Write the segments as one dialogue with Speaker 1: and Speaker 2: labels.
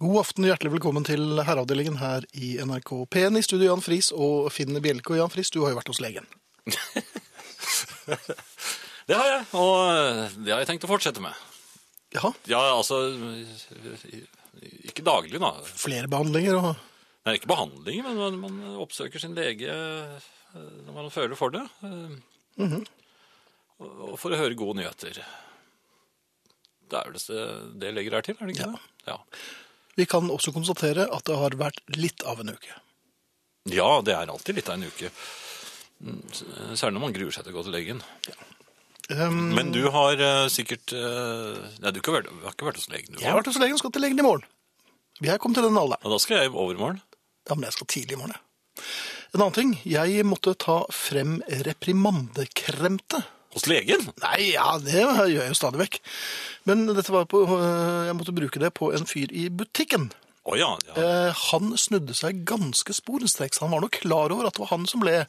Speaker 1: God aften og hjertelig velkommen til herreavdelingen her i NRK P1 i studio Jan Friis og Finn Bjelke. Og Jan Friis, du har jo vært hos legen.
Speaker 2: Det har jeg, og eh, det har jeg tenkt å fortsette med.
Speaker 1: Jaha,
Speaker 2: Ja, altså Ikke daglig, da.
Speaker 1: flere behandlinger og
Speaker 2: Nei, ikke behandling, men man, man oppsøker sin lege eh, når man føler for det. eh,
Speaker 1: Mhm.
Speaker 2: og- Og for å høre gode nyheter. Det er vel det, det legger her til, er det ikke
Speaker 1: Ja.
Speaker 2: det? Ja.
Speaker 1: Vi kan også konstatere at det har vært litt av en uke.
Speaker 2: ja, det er alltid litt av en uke. Mm, s- Særlig når man gruer seg til å gå til legen.
Speaker 1: Um,
Speaker 2: Men du har eh, sikkert eh, Nei, du har ikke vært, har ikke vært hos legen, du
Speaker 1: jeg har vært hos legen og skal til legen i morgen. Vi er kommet til den alderen.
Speaker 2: Ja, da skal jeg i overmorgen.
Speaker 1: Ja, men jeg skal tidlig i morgen, jeg. En annen ting. Jeg måtte ta frem reprimandekremte.
Speaker 2: Hos legen?
Speaker 1: Nei, ja, det gjør jeg jo stadig vekk. Men dette var på, øh, jeg måtte bruke det på en fyr i butikken.
Speaker 2: Å ja. ja.
Speaker 1: Eh, han snudde seg ganske sporenstreks. Han var nok klar over at det var han som ble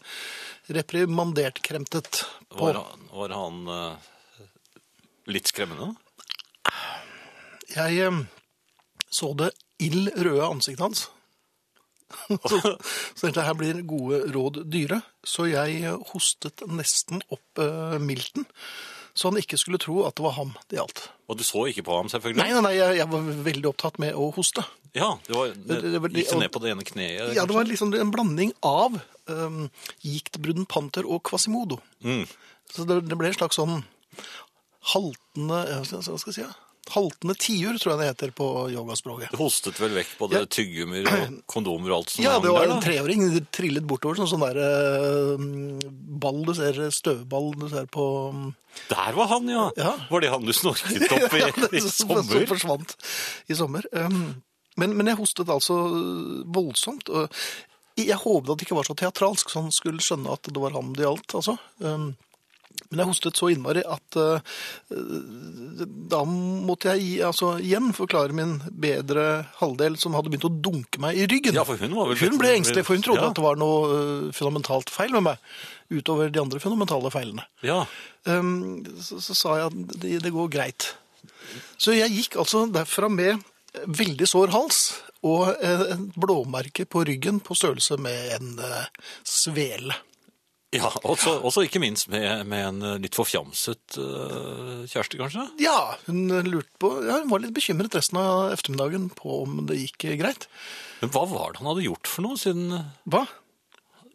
Speaker 1: reprimandert kremtet på.
Speaker 2: Var han, var han eh, litt skremmende?
Speaker 1: Jeg eh, så det ild røde ansiktet hans. så, så tenkte jeg, her blir gode råd dyre. Så jeg eh, hostet nesten opp eh, milten, så han ikke skulle tro at det var ham det gjaldt.
Speaker 2: Og du så ikke på ham, selvfølgelig?
Speaker 1: Nei, nei, nei, jeg, jeg var veldig opptatt med å hoste.
Speaker 2: Ja, det var,
Speaker 1: det var-
Speaker 2: gikk det
Speaker 1: og-
Speaker 2: ned på det ene kneet?
Speaker 1: Ja, det var
Speaker 2: kanskje?
Speaker 1: liksom en blanding av um, Giktbruden Panter og Quasimodo.
Speaker 2: Mm.
Speaker 1: Så det, det ble en slags sånn haltende ja, Hva skal jeg si? ja? Haltende tiur, tror jeg det heter på yogaspråket.
Speaker 2: Du hostet vel vekk både
Speaker 1: Ja.
Speaker 2: tyggegummier og kondomer og alt som
Speaker 1: Ja,
Speaker 2: hang
Speaker 1: det var
Speaker 2: der,
Speaker 1: en
Speaker 2: da?
Speaker 1: treåring det trillet bortover, sånn sånn der eh, ball du ser, støvball du ser på mm,
Speaker 2: Der var han, ja.
Speaker 1: Ja.
Speaker 2: Var det han du snorket opp i, i
Speaker 1: Som
Speaker 2: sommer?
Speaker 1: forsvant i sommer. Um, men, men jeg hostet altså voldsomt. og Jeg håpet at det ikke var så teatralsk, så han skulle skjønne at det var ham det gjaldt. Altså. Um, men jeg hostet så innmari at uh, uh, da måtte jeg gi- altså, igjen forklare min bedre halvdel, som hadde begynt å dunke meg i ryggen.
Speaker 2: Ja, for hun var vel
Speaker 1: Hun ble engstelig, for hun trodde
Speaker 2: Ja.
Speaker 1: at det var noe uh, fundamentalt feil med meg. Utover de andre fundamentale feilene.
Speaker 2: Ja.
Speaker 1: Ehm, så, så sa jeg at det, det går greit. Så jeg gikk altså derfra med veldig sår hals og eh, et blåmerke på ryggen på størrelse med en eh, svele.
Speaker 2: ja også, også ikke minst med, med en eh, litt forfjamset eh, kjæreste, kanskje?
Speaker 1: Ja, hun lurte på ja, Hun var litt bekymret resten av ettermiddagen på om det gikk eh, greit.
Speaker 2: Men hva var det han hadde gjort for noe, siden,
Speaker 1: Hva?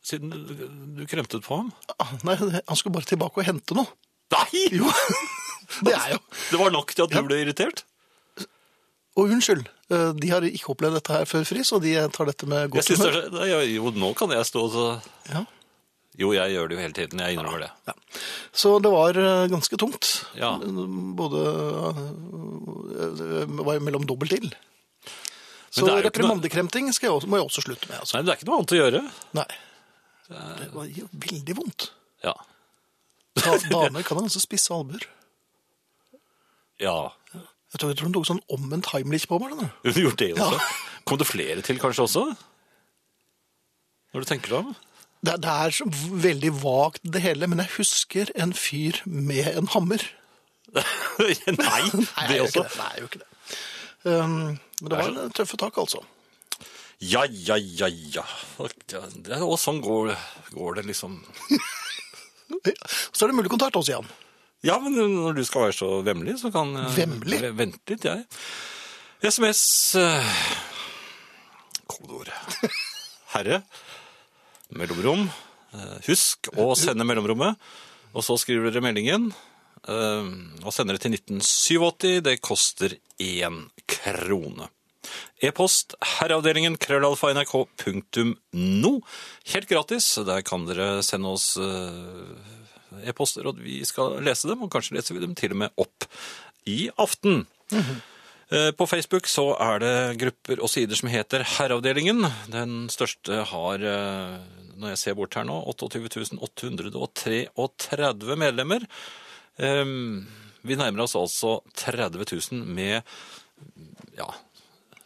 Speaker 2: siden du- du kremtet på ham?
Speaker 1: Ah, Nei, han skulle bare tilbake og hente noe.
Speaker 2: Nei!
Speaker 1: Jo, det er jo
Speaker 2: Det var nok til at du ble irritert?
Speaker 1: Og unnskyld, eh, de har ikke opplevd dette her før, Friis, og de tar dette med
Speaker 2: Jeg
Speaker 1: godt
Speaker 2: synes det er, så- Nei, jo, nå kan jeg stå og så-
Speaker 1: Ja.
Speaker 2: Jo, jeg gjør det jo hele tiden. Jeg innrømmer det.
Speaker 1: Ja. Så det var eh, ganske tungt.
Speaker 2: Ja.
Speaker 1: Både eh, var jo mellom dobbelt ild. Så
Speaker 2: det er jo ikke
Speaker 1: reprimandekremting skal jeg også, må jeg også slutte med. Altså.
Speaker 2: Nei, men det er ikke noe annet å gjøre.
Speaker 1: Nei. Det var jo veldig vondt.
Speaker 2: Ja.
Speaker 1: Da, damer kan ha ganske spisse albuer.
Speaker 2: ja.
Speaker 1: Jeg tror, jeg tror hun tok sånn omvendt Heimlich på meg. denne.
Speaker 2: Hun gjorde det også.
Speaker 1: Ja.
Speaker 2: Kom det flere til kanskje også? Når du tenker deg om?
Speaker 1: Det, det er så veldig vagt det hele, men jeg husker en fyr med en hammer.
Speaker 2: Nei, det
Speaker 1: jeg gjør
Speaker 2: også.
Speaker 1: ikke det. Nei, jeg gjør ikke det. Um, men det var tøffe tak, altså.
Speaker 2: Ja, ja, ja, ja. Det, og sånn går, går det liksom.
Speaker 1: Så er det mulig kontakt også, Jan.
Speaker 2: Ja, men når du skal være så vemmelig, så kan eh,
Speaker 1: Vemmelig?
Speaker 2: v- Vente litt, jeg. SMS eh, Kodeord. Herre. Mellomrom. Eh, Husk å sende mellomrommet. Og så skriver dere meldingen. eh, Og sender det til 1987. Det koster én krone. E-post herreavdelingen krøllalfa nrk.no. Helt gratis. Der kan dere sende oss eh, e-poster, og vi skal lese dem. Og kanskje leser vi dem til og med opp i aften. Eh, På Facebook så er det grupper og sider som heter Herreavdelingen. Den største har, eh, når jeg ser bort her nå, 28.833 medlemmer. Eh, Vi nærmer oss altså 30 000 med ja,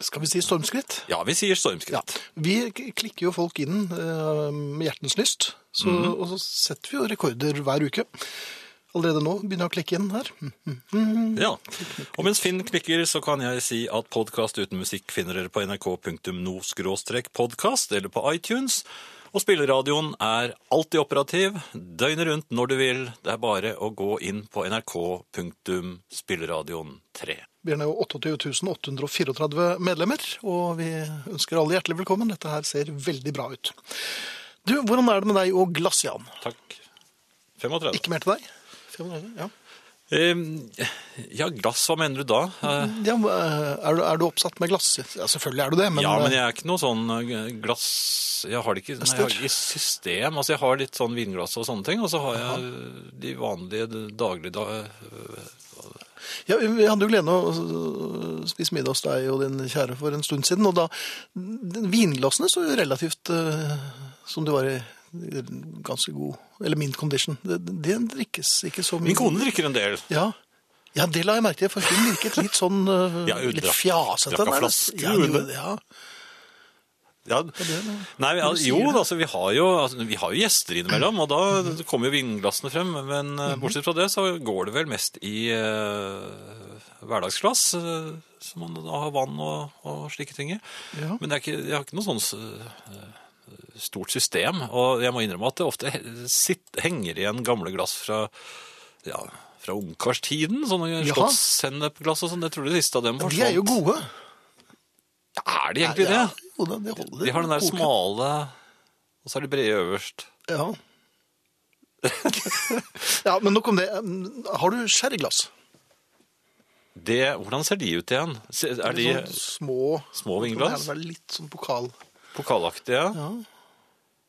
Speaker 1: Skal vi si stormskritt?
Speaker 2: ja, vi sier stormskritt.
Speaker 1: Vi k- klikker jo folk
Speaker 2: Mhm.
Speaker 1: inn eh, med hjertens lyst, så, og så setter vi jo rekorder hver uke. Allerede nå begynner jeg å klikke igjen her. Mhm.
Speaker 2: Ja. Og mens Finn klikker, så kan jeg si at podkast uten musikk finner dere på nrk.no-podkast eller på iTunes. Og spilleradioen er alltid operativ, døgnet rundt når du vil. Det er bare å gå inn på nrk.spilleradioen3.
Speaker 1: Vi er nå 28 834 medlemmer, og vi ønsker alle hjertelig velkommen. Dette her ser veldig bra ut. Du, hvordan er det med deg og glass, Jan?
Speaker 2: Takk. 35.
Speaker 1: Ikke mer til deg? 35, Ja.
Speaker 2: Eh, Ja, glass, hva mener du da? Eh,
Speaker 1: Ja, men, eh, er, du, er du oppsatt med glass? Ja, selvfølgelig er du det, men,
Speaker 2: ja, men
Speaker 1: eh,
Speaker 2: jeg er ikke noe sånn eh, glass Jeg har det ikke, nei, jeg har det ikke i system. Altså, jeg har litt sånn vinglass og sånne ting, og så har jeg eh, de vanlige d- daglige da,
Speaker 1: ja, Vi hadde jo gleden av å øh, spise middag hos deg og din kjære for en stund siden, og da Vinglassene så jo relativt øh, som du var i i ganske god Eller mint condition. Det, det drikkes ikke så mye.
Speaker 2: Min kone drikker en del.
Speaker 1: Ja. ja, det la jeg merke til, for hun virket litt sånn øh,
Speaker 2: Ja, hun
Speaker 1: Litt
Speaker 2: drakk-
Speaker 1: fjasete.
Speaker 2: drakk av
Speaker 1: nærmest.
Speaker 2: flaske,
Speaker 1: Ja,
Speaker 2: hun.
Speaker 1: det gjorde det, ja.
Speaker 2: Ja.
Speaker 1: det er noe-
Speaker 2: Nei, vi-
Speaker 1: når du
Speaker 2: jo,
Speaker 1: sier det.
Speaker 2: altså, vi, har jo, altså, vi har jo gjester innimellom, og da kommer jo vinglassene frem. Men eh,
Speaker 1: Mhm.
Speaker 2: bortsett fra det så går det vel mest i eh, hverdagsglass, eh, som man da har vann og, og slike ting i.
Speaker 1: Ja.
Speaker 2: Men det er ikke, jeg har ikke noe sånn eh, stort system, og jeg må innrømme at det ofte he- sitt, henger igjen gamle glass fra, ja, fra ungkarstiden. Sånne
Speaker 1: Jaha.
Speaker 2: slottssennepglass og sånn. Jeg tror det siste av dem forsvant.
Speaker 1: De er jo gode.
Speaker 2: Er de egentlig det?
Speaker 1: Ja, jo da, det holder.
Speaker 2: De har den der
Speaker 1: Koker.
Speaker 2: smale, og så er de brede øverst.
Speaker 1: Ja. ja, men nok om det. Har du sherryglass?
Speaker 2: Det, hvordan ser de ut igjen? Se- Er sånn- de
Speaker 1: Eller sånne sånn små,
Speaker 2: små
Speaker 1: Det
Speaker 2: vinglass?
Speaker 1: er vel litt sånn pokal.
Speaker 2: Pokalaktige?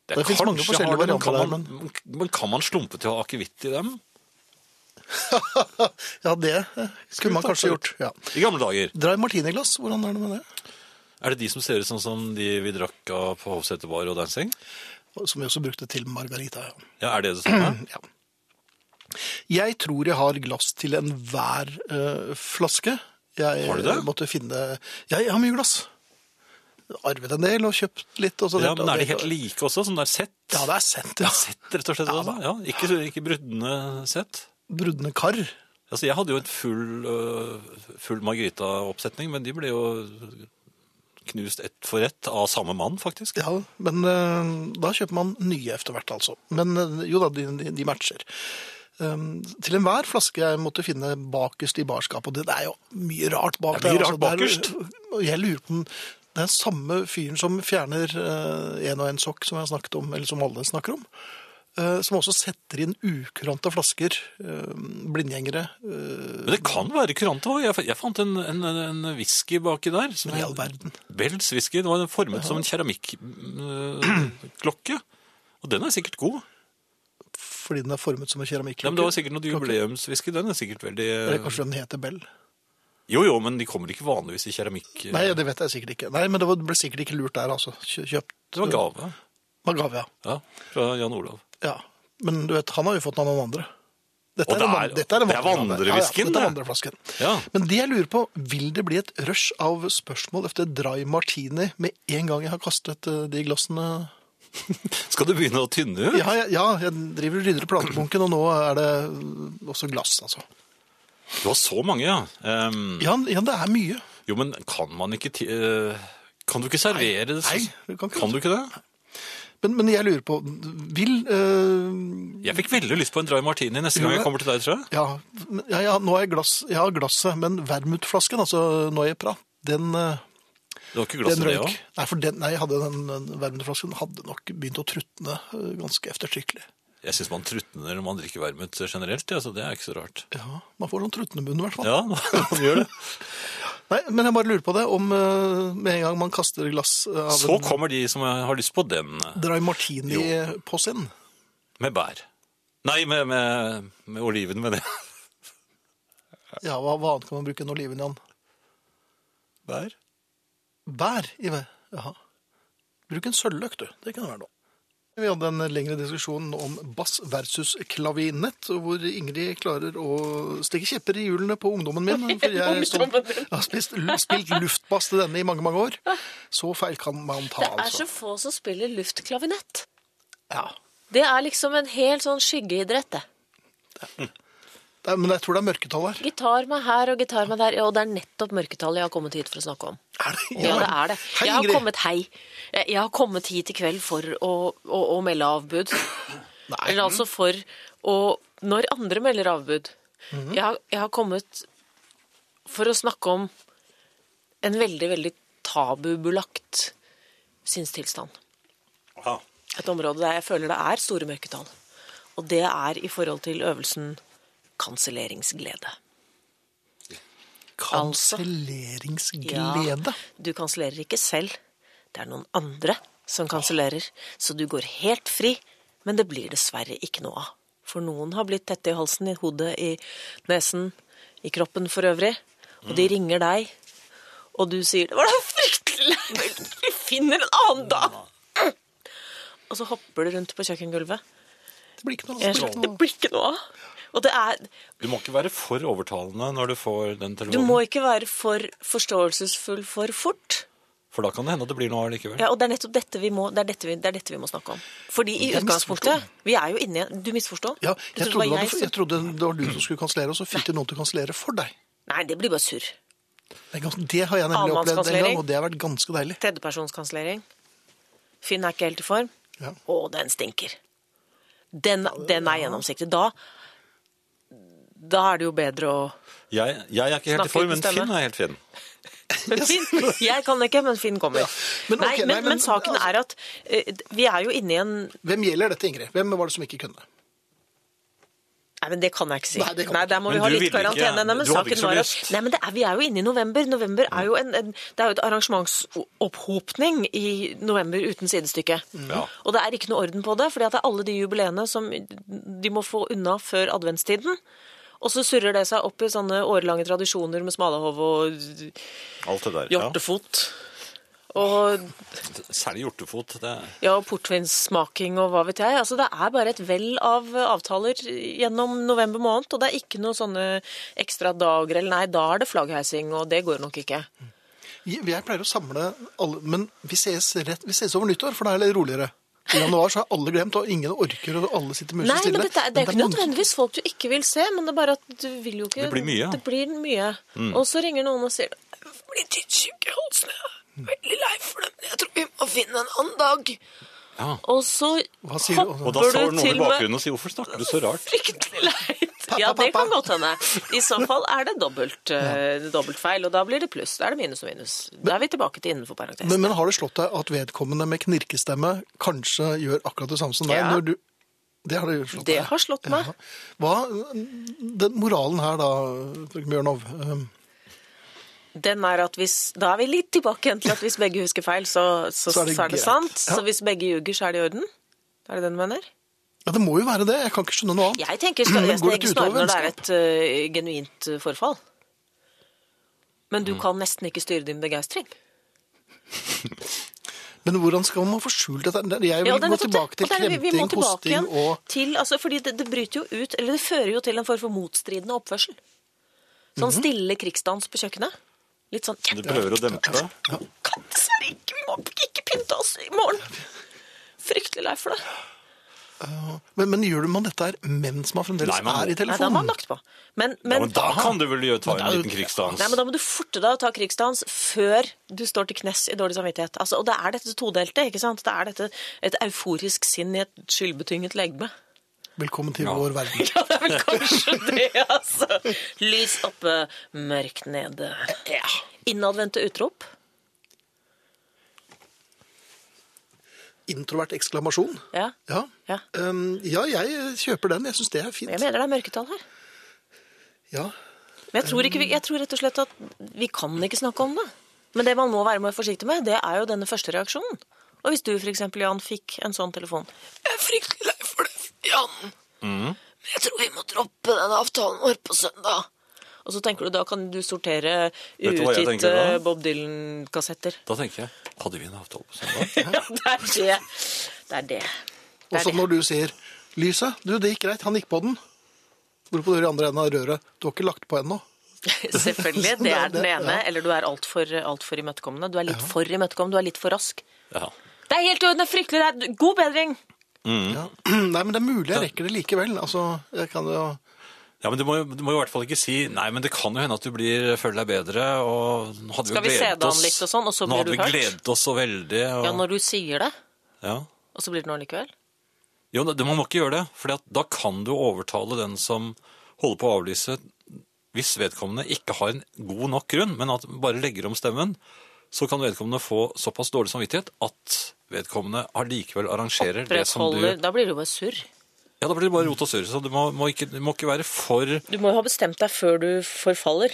Speaker 2: Det,
Speaker 1: Det finnes
Speaker 2: kanskje
Speaker 1: mange forskjellige
Speaker 2: har det, men
Speaker 1: varianter
Speaker 2: kan
Speaker 1: der,
Speaker 2: man, men kan man slumpe til å ha akevitt i dem?
Speaker 1: ja, det eh, skulle man kanskje gjort. Ja.
Speaker 2: I gamle dager.
Speaker 1: Dry martiniglass, hvordan er det med det?
Speaker 2: Er det de som ser ut sånn som de vi drakk av på Hovseter Bar og Dancing?
Speaker 1: Som vi også brukte til margarita. Ja. Mm,
Speaker 2: Ja, er det det samme?
Speaker 1: Ja. Jeg tror jeg har glass til enhver eh, flaske. Jeg
Speaker 2: Har du det?
Speaker 1: måtte finne Ja, jeg har mye glass. Arvet en del og kjøpt litt. Og så
Speaker 2: Ja, men er de helt like også? Sånn der sett?
Speaker 1: Ja, det er sett, ja.
Speaker 2: Sett, rett og slett. altså. Ja, ikke, ikke brudne sett?
Speaker 1: Brudne kar.
Speaker 2: Altså, jeg hadde jo en full, øh, full Margarita-oppsetning, men de ble jo knust ett for ett av samme mann, faktisk.
Speaker 1: Ja, men eh, da kjøper man nye etter hvert, altså. Men eh, jo da, de, de- de matcher. Um, til enhver flaske jeg måtte finne bakerst i barskapet, og det er jo mye rart bak
Speaker 2: Det er mye
Speaker 1: der,
Speaker 2: rart bakerst.
Speaker 1: der, og jeg lurer på om det er samme fyren som fjerner eh, en og en sokk, som jeg har snakket om, eller som alle snakker om. eh, som også setter inn ukurante flasker, eh, blindgjengere. eh,
Speaker 2: Men det kan være kurant også. Jeg, fa- jeg fant en, en, en whisky baki der. Som
Speaker 1: Men i all verden.
Speaker 2: Bells whisky. Den var formet som en keramikklokke. Og den er sikkert god.
Speaker 1: fordi den er formet som en keramikklokke.
Speaker 2: Nei, men det var sikkert noe jubileumswhisky. Den er sikkert veldig
Speaker 1: Eller kanskje den heter Bell.
Speaker 2: Jo, jo, men de kommer ikke vanligvis i keramikk. øh,
Speaker 1: Nei, det vet jeg sikkert ikke. Nei, men det var- ble sikkert ikke lurt der, altså. Kjø- Kjøpt.
Speaker 2: Det var gave.
Speaker 1: var gave, ja.
Speaker 2: Ja, fra Jan Olav.
Speaker 1: ja. Men du vet, han har jo fått den av noen andre. Dette
Speaker 2: Og det
Speaker 1: en van-
Speaker 2: er-
Speaker 1: dette en
Speaker 2: det er
Speaker 1: vandregave.
Speaker 2: vandrevisken,
Speaker 1: Ja, ja, dette er
Speaker 2: det.
Speaker 1: vandreflasken.
Speaker 2: Ja.
Speaker 1: Men det jeg lurer på, vil det bli et rush av spørsmål efter dry martini med en gang jeg har kastet eh, de glassene?
Speaker 2: Skal du begynne å tynne ut?
Speaker 1: Ja, jeg, ja, jeg driver og rydder i platebunken, og nå er det eh, også glass, altså.
Speaker 2: Du har så mange, ja. Ehm,
Speaker 1: Ja, ja det er mye.
Speaker 2: Jo, men kan man ikke ti- eh, Kan du ikke servere det?
Speaker 1: nei, du kan ikke.
Speaker 2: du ikke det?
Speaker 1: Men, men jeg lurer på, vil... eh,
Speaker 2: Jeg fikk veldig lyst på en dry martini neste gang jeg kommer til deg, tror jeg.
Speaker 1: Ja, men- ja, ja nå har jeg, glass, jeg har glasset, men vermutflasken, altså Noiepra, den, eh,
Speaker 2: Det var ikke glass
Speaker 1: den
Speaker 2: i det
Speaker 1: røyk.
Speaker 2: òg.
Speaker 1: Nei, for den, nei, jeg hadde den, den vermutflasken hadde nok begynt å trutne eh, ganske eftertrykkelig.
Speaker 2: Jeg syns man trutner når man drikker vermut generelt, ja, så det er ikke så rart.
Speaker 1: Ja, man får sånn trutne munn i hvert fall.
Speaker 2: Ja, man gjør det.
Speaker 1: Nei, men jeg bare lurer på det, om eh, med en gang man kaster glass eh, av
Speaker 2: Så kommer de som har lyst på den eh,
Speaker 1: en dry martini på sin.
Speaker 2: med bær. Nei, med, med, med oliven, mener jeg.
Speaker 1: Ja, hva, hva annet kan man bruke enn oliven, Jan?
Speaker 2: Bær?
Speaker 1: Bær i vei. Jaha. Bruk en sølvløk, du. Det kan det være noe. Vi hadde en lengre diskusjon om bass versus klavinett, hvor Ingrid klarer å stikke kjepper i hjulene på ungdommen min. For jeg, som, jeg har spist, spilt luftbass til denne i mange, mange år. Så feil kan man ta,
Speaker 3: Det er så
Speaker 1: altså.
Speaker 3: få som spiller luftklavinett.
Speaker 1: Ja.
Speaker 3: Det er liksom en helt sånn skyggeidrett, det.
Speaker 1: Det er, men jeg tror det er mørketall her.
Speaker 3: Gitar meg her og gitar meg der, ja, og det er nettopp mørketallet jeg har kommet hit for å snakke om.
Speaker 1: Er det?
Speaker 3: Ja, det er det.
Speaker 1: Hei,
Speaker 3: Jeg har
Speaker 1: Ingrid.
Speaker 3: kommet hei. Jeg jeg har kommet hit i kveld for å, å, å melde avbud. Eller altså for å Når andre melder avbud. jeg, har, jeg har kommet for å snakke om en veldig, veldig tabubelagt sinnstilstand.
Speaker 2: Ja.
Speaker 3: Et område der jeg føler det er store mørketall. Og det er i forhold til øvelsen kanselleringsglede. altså.
Speaker 1: Kanselleringsglede.
Speaker 3: Du kansellerer ikke selv. Det er noen andre som kansellerer. Så du går helt fri, men det blir dessverre ikke noe av. For noen har blitt tette i halsen, i hodet, i nesen, i kroppen for øvrig. Og de ringer deg, og du sier 'Det var da fryktelig leit! Vi finner en annen dag!' Og så hopper du rundt på kjøkkengulvet.
Speaker 1: Det blir ikke noe.
Speaker 3: Jeg
Speaker 1: Det
Speaker 3: er
Speaker 1: blir
Speaker 3: sånn,
Speaker 1: ikke
Speaker 3: Det
Speaker 1: noe.
Speaker 3: blir ikke noe av. Og det er
Speaker 2: Du må ikke være for overtalende når du får den
Speaker 3: Du
Speaker 2: telefonen.
Speaker 3: må ikke være for forståelsesfull for fort.
Speaker 2: For da kan det hende at det blir noe allikevel.
Speaker 3: Ja, og det er nettopp dette vi må, det er dette vi, det er dette vi må snakke om. Fordi i
Speaker 1: Jeg
Speaker 3: utgangspunktet Vi er jo inne i en Du misforstår?
Speaker 1: Ja,
Speaker 3: Du
Speaker 1: jeg,
Speaker 3: trodde det
Speaker 1: trodde
Speaker 3: var
Speaker 1: det,
Speaker 3: jeg
Speaker 1: jeg
Speaker 3: som-
Speaker 1: trodde det var du som skulle kansellere, og så fikk du noen til å kansellere for deg.
Speaker 3: Nei, det blir bare surr.
Speaker 1: Det er gans- Det har jeg nemlig opplevd en
Speaker 3: Avmannskansellering.
Speaker 1: gang, og det har vært ganske deilig.
Speaker 3: Tredjepersonskansellering. Finn er ikke helt i form.
Speaker 1: Ja.
Speaker 3: Å, den stinker. Den, den er gjennomsiktig. Da da er det jo bedre å
Speaker 2: Jeg, jeg er ikke helt
Speaker 3: Snakker
Speaker 2: i form,
Speaker 3: uten
Speaker 2: men
Speaker 3: stemme.
Speaker 2: Finn er helt fin.
Speaker 3: Men Finn, jeg kan ikke, men Finn kommer.
Speaker 1: Men
Speaker 3: nei,
Speaker 1: ok,
Speaker 3: men,
Speaker 1: nei,
Speaker 3: men,
Speaker 1: men- altså-
Speaker 3: saken er at eh, vi er jo inne i en
Speaker 1: Hvem gjelder dette, Ingrid? Hvem var det som ikke kunne?
Speaker 3: Nei, men det kan jeg ikke si.
Speaker 1: Nei, det kan du ikke.
Speaker 3: der må vi
Speaker 2: Men
Speaker 3: ha
Speaker 2: du
Speaker 3: litt
Speaker 2: ville ikke-
Speaker 3: karantene. Nei, men
Speaker 2: du hadde ikke
Speaker 3: saken
Speaker 2: så
Speaker 3: var at,
Speaker 2: lyst.
Speaker 3: nei, men det er, vi er jo inne i november. November er jo en, en, det er jo et arrangementsoppåpning i november uten sidestykke.
Speaker 2: Ja.
Speaker 3: Og det er ikke noe orden på det, fordi at det er alle de jubileene som de må få unna før adventstiden. Og så surrer det seg opp i sånne årelange tradisjoner med smalahove og
Speaker 2: Alt det der. Ja.
Speaker 3: hjortefot. Og
Speaker 2: Særlig hjortefot. Det er
Speaker 3: ja, og portvinsmaking og hva vet jeg. Altså, det er bare et vell av eh, avtaler gjennom november måned, og det er ikke noe sånne ekstra dager eller nei, da er det flaggheising, og det går nok ikke.
Speaker 1: Jeg jeg pleier å samle alle, men vi ses, rett, vi ses over nyttår, for da er det roligere. I januar så har alle glemt, og ingen orker, og alle sitter
Speaker 3: Nei,
Speaker 1: musestille.
Speaker 3: men dette, er- det er jo ikke
Speaker 1: mange-
Speaker 3: nødvendigvis folk du ikke vil se, men det er bare at du vil jo ikke
Speaker 2: Det blir mye. Mm.
Speaker 3: Det blir mye. Og så ringer noen og sier Jeg blir tynnsjuk i halsen, jeg er veldig lei for det, men jeg tror vi må finne en annen dag.
Speaker 2: Ja.
Speaker 3: Og så
Speaker 1: Hva sier du?
Speaker 2: Og da
Speaker 3: hopper
Speaker 2: står
Speaker 3: du
Speaker 2: noen i
Speaker 3: til med
Speaker 2: bakgrunnen og sier 'hvorfor snakker du så rart'?
Speaker 3: Fryktelig leit.
Speaker 1: Pappa,
Speaker 3: Ja, det kan
Speaker 1: pappa.
Speaker 3: godt hende. I så fall er det dobbelt, eh, dobbelt feil, og da blir det pluss. Da er det minus og minus. Da er vi tilbake til innenfor parentes.
Speaker 1: Men, men har det slått deg at vedkommende med knirkestemme kanskje gjør akkurat det samme som deg?
Speaker 3: Ja.
Speaker 1: Når du, det har det jo slått
Speaker 3: Det
Speaker 1: deg.
Speaker 3: har slått meg.
Speaker 1: Ja. Hva, den moralen her da, Bjørnov, um,
Speaker 3: Den er at hvis, da er vi litt tilbake igjen til at hvis begge husker feil, så, så, så er det,
Speaker 1: greit.
Speaker 3: sant.
Speaker 1: Ja.
Speaker 3: Så hvis begge ljuger, så er det i orden. Er det den du mener?
Speaker 1: ja, det må jo være det, jeg kan ikke skjønne noe annet.
Speaker 3: Jeg tenker
Speaker 1: Men
Speaker 3: snar-
Speaker 1: går det ikke
Speaker 3: snarere
Speaker 1: utover
Speaker 3: når det er et eh, genuint eh, forfall. Men
Speaker 1: Mm.
Speaker 3: du kan nesten ikke styre din begeistring.
Speaker 1: Men hvordan skal man få skjult dette? Jeg vil
Speaker 3: Ja, det
Speaker 1: gå
Speaker 3: er nettopp det.
Speaker 1: tilbake til
Speaker 3: Og det er det vi- vi må
Speaker 1: kremting,
Speaker 3: tilbake
Speaker 1: kosting
Speaker 3: igjen
Speaker 1: og...
Speaker 3: til, altså, fordi det, det bryter jo ut, eller det fører jo til en form for motstridende oppførsel. Sånn stille krigsdans på kjøkkenet. Litt sånn
Speaker 2: Du
Speaker 3: ja,
Speaker 2: prøver å dempe det.
Speaker 3: kan dessverre ikke, vi må ikke pynte oss i morgen. Fryktelig lei for det.
Speaker 1: Men, men gjør man dette her mens man fremdeles
Speaker 2: Nei, man må-
Speaker 1: er i
Speaker 3: Nei, da har man
Speaker 1: telefonen?
Speaker 3: lagt på. Men,
Speaker 2: Ja,
Speaker 3: men,
Speaker 2: men da kan du vel gjøre ta en liten krigsdans.
Speaker 3: Nei, men Da må du forte deg å ta krigsdans før du står til knes i dårlig samvittighet. Altså, og det er dette todelte. ikke sant? Det er dette et euforisk sinn i et skyldbetynget legeme.
Speaker 1: Velkommen til vår verden.
Speaker 3: Ja, det er vel kanskje det, altså. Lys oppe, mørkt nede. Ja. Innadvendte utrop.
Speaker 1: Introvert ekklamasjon.
Speaker 3: Ja.
Speaker 1: Ja.
Speaker 3: ja.
Speaker 1: Um, ja, jeg kjøper den. Jeg syns det er
Speaker 3: Jeg
Speaker 1: fint.
Speaker 3: mener det er mørketall her.
Speaker 1: Ja.
Speaker 3: Men jeg tror, ikke, vi- jeg tror rett og slett at vi kan ikke snakke om det. Men det man må være mer forsiktig med, det er jo denne første reaksjonen. Og hvis du f.eks. Jan fikk en sånn telefon Jeg er fryktelig lei for det, Jan.
Speaker 2: Mm.
Speaker 3: Men jeg tror vi må droppe den avtalen vår på søndag. Og så tenker du da kan du sortere
Speaker 2: Vet du hva jeg tenker da?
Speaker 3: utgitte Bob Dylan-kassetter.
Speaker 2: Da tenker jeg hadde vi en avtale på søndag?
Speaker 3: Ja, det er det. Det er det.
Speaker 1: Og så når du sier 'Lyset, du, det gikk greit, han gikk på den'. Hvorpå du hører i andre enden av røret 'Du har ikke lagt på ennå'.
Speaker 3: Selvfølgelig. Det er den ene. Eller du er altfor alt for imøtekommende. Du er litt for imøtekommende, du er litt for rask.
Speaker 2: Ja.
Speaker 3: Det er helt i orden, det er fryktelig redd. God bedring!
Speaker 2: Mm.
Speaker 1: Ja. Nei, men det er mulig jeg rekker det likevel. Altså, jeg kan jo
Speaker 2: Ja, men du må, jo- du må jo i hvert fall ikke si Nei, men det kan jo hende at du blir, føler deg bedre. Og nå hadde
Speaker 3: Skal vi
Speaker 2: jo
Speaker 3: se
Speaker 2: gledet
Speaker 3: det an
Speaker 2: oss-
Speaker 3: litt og sånn, og så
Speaker 2: Nå
Speaker 3: blir
Speaker 2: hadde
Speaker 3: du
Speaker 2: vi
Speaker 3: hørt?
Speaker 2: gledet oss så veldig. Og,
Speaker 3: Ja, når du sier det,
Speaker 2: ja.
Speaker 3: og så blir det noe likevel.
Speaker 2: Jo, det- man må ikke gjøre det, for da kan du overtale den som holder på å avlyse, hvis vedkommende ikke har en god nok grunn, men at bare legger om stemmen, så kan vedkommende få såpass dårlig samvittighet at vedkommende allikevel arrangerer det som du...
Speaker 3: Oppretholder Da blir det jo bare surr.
Speaker 2: Ja, da blir det bare rot og surr, så du må, må, ikke, du må ikke være for...
Speaker 3: Du må jo ha bestemt deg før du forfaller.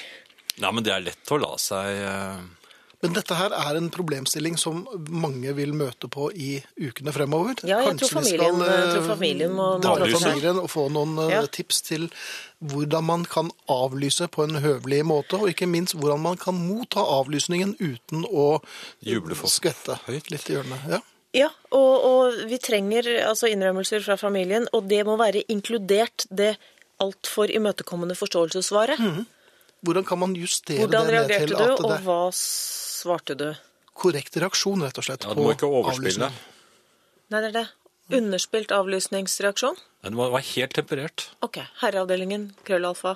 Speaker 2: Nei, men det er lett å la seg... eh,
Speaker 1: Men dette her er en problemstilling som mange vil møte på i ukene fremover.
Speaker 3: Ja, jeg tror
Speaker 1: vi
Speaker 3: familien-
Speaker 1: eh,
Speaker 3: jeg tror familien må-
Speaker 1: dra
Speaker 2: må
Speaker 1: til
Speaker 2: avlyse.
Speaker 1: familien og få noen eh,
Speaker 3: Ja.
Speaker 1: tips til hvordan man kan avlyse på en høvelig måte, og ikke minst hvordan man kan motta avlysningen uten å
Speaker 2: Juble for
Speaker 1: skvette
Speaker 2: høyt.
Speaker 1: litt i hjørnet. Ja.
Speaker 3: Ja, og, og vi trenger altså innrømmelser fra familien, og det må være inkludert det altfor imøtekommende forståelsessvaret.
Speaker 1: Hvordan kan man justere
Speaker 3: Hvordan
Speaker 1: Mm. det ned
Speaker 3: reagerte
Speaker 1: til
Speaker 3: du,
Speaker 1: at
Speaker 3: og
Speaker 1: det er
Speaker 3: hva svarte du?
Speaker 1: korrekt reaksjon, rett og slett?
Speaker 2: Ja, du må
Speaker 1: på
Speaker 2: ikke overspille.
Speaker 1: avlysningen?
Speaker 3: Nei, det er det. Underspilt avlysningsreaksjon?
Speaker 2: Nei, Du må være helt temperert.
Speaker 3: Ok. Herreavdelingen, krøllalfa,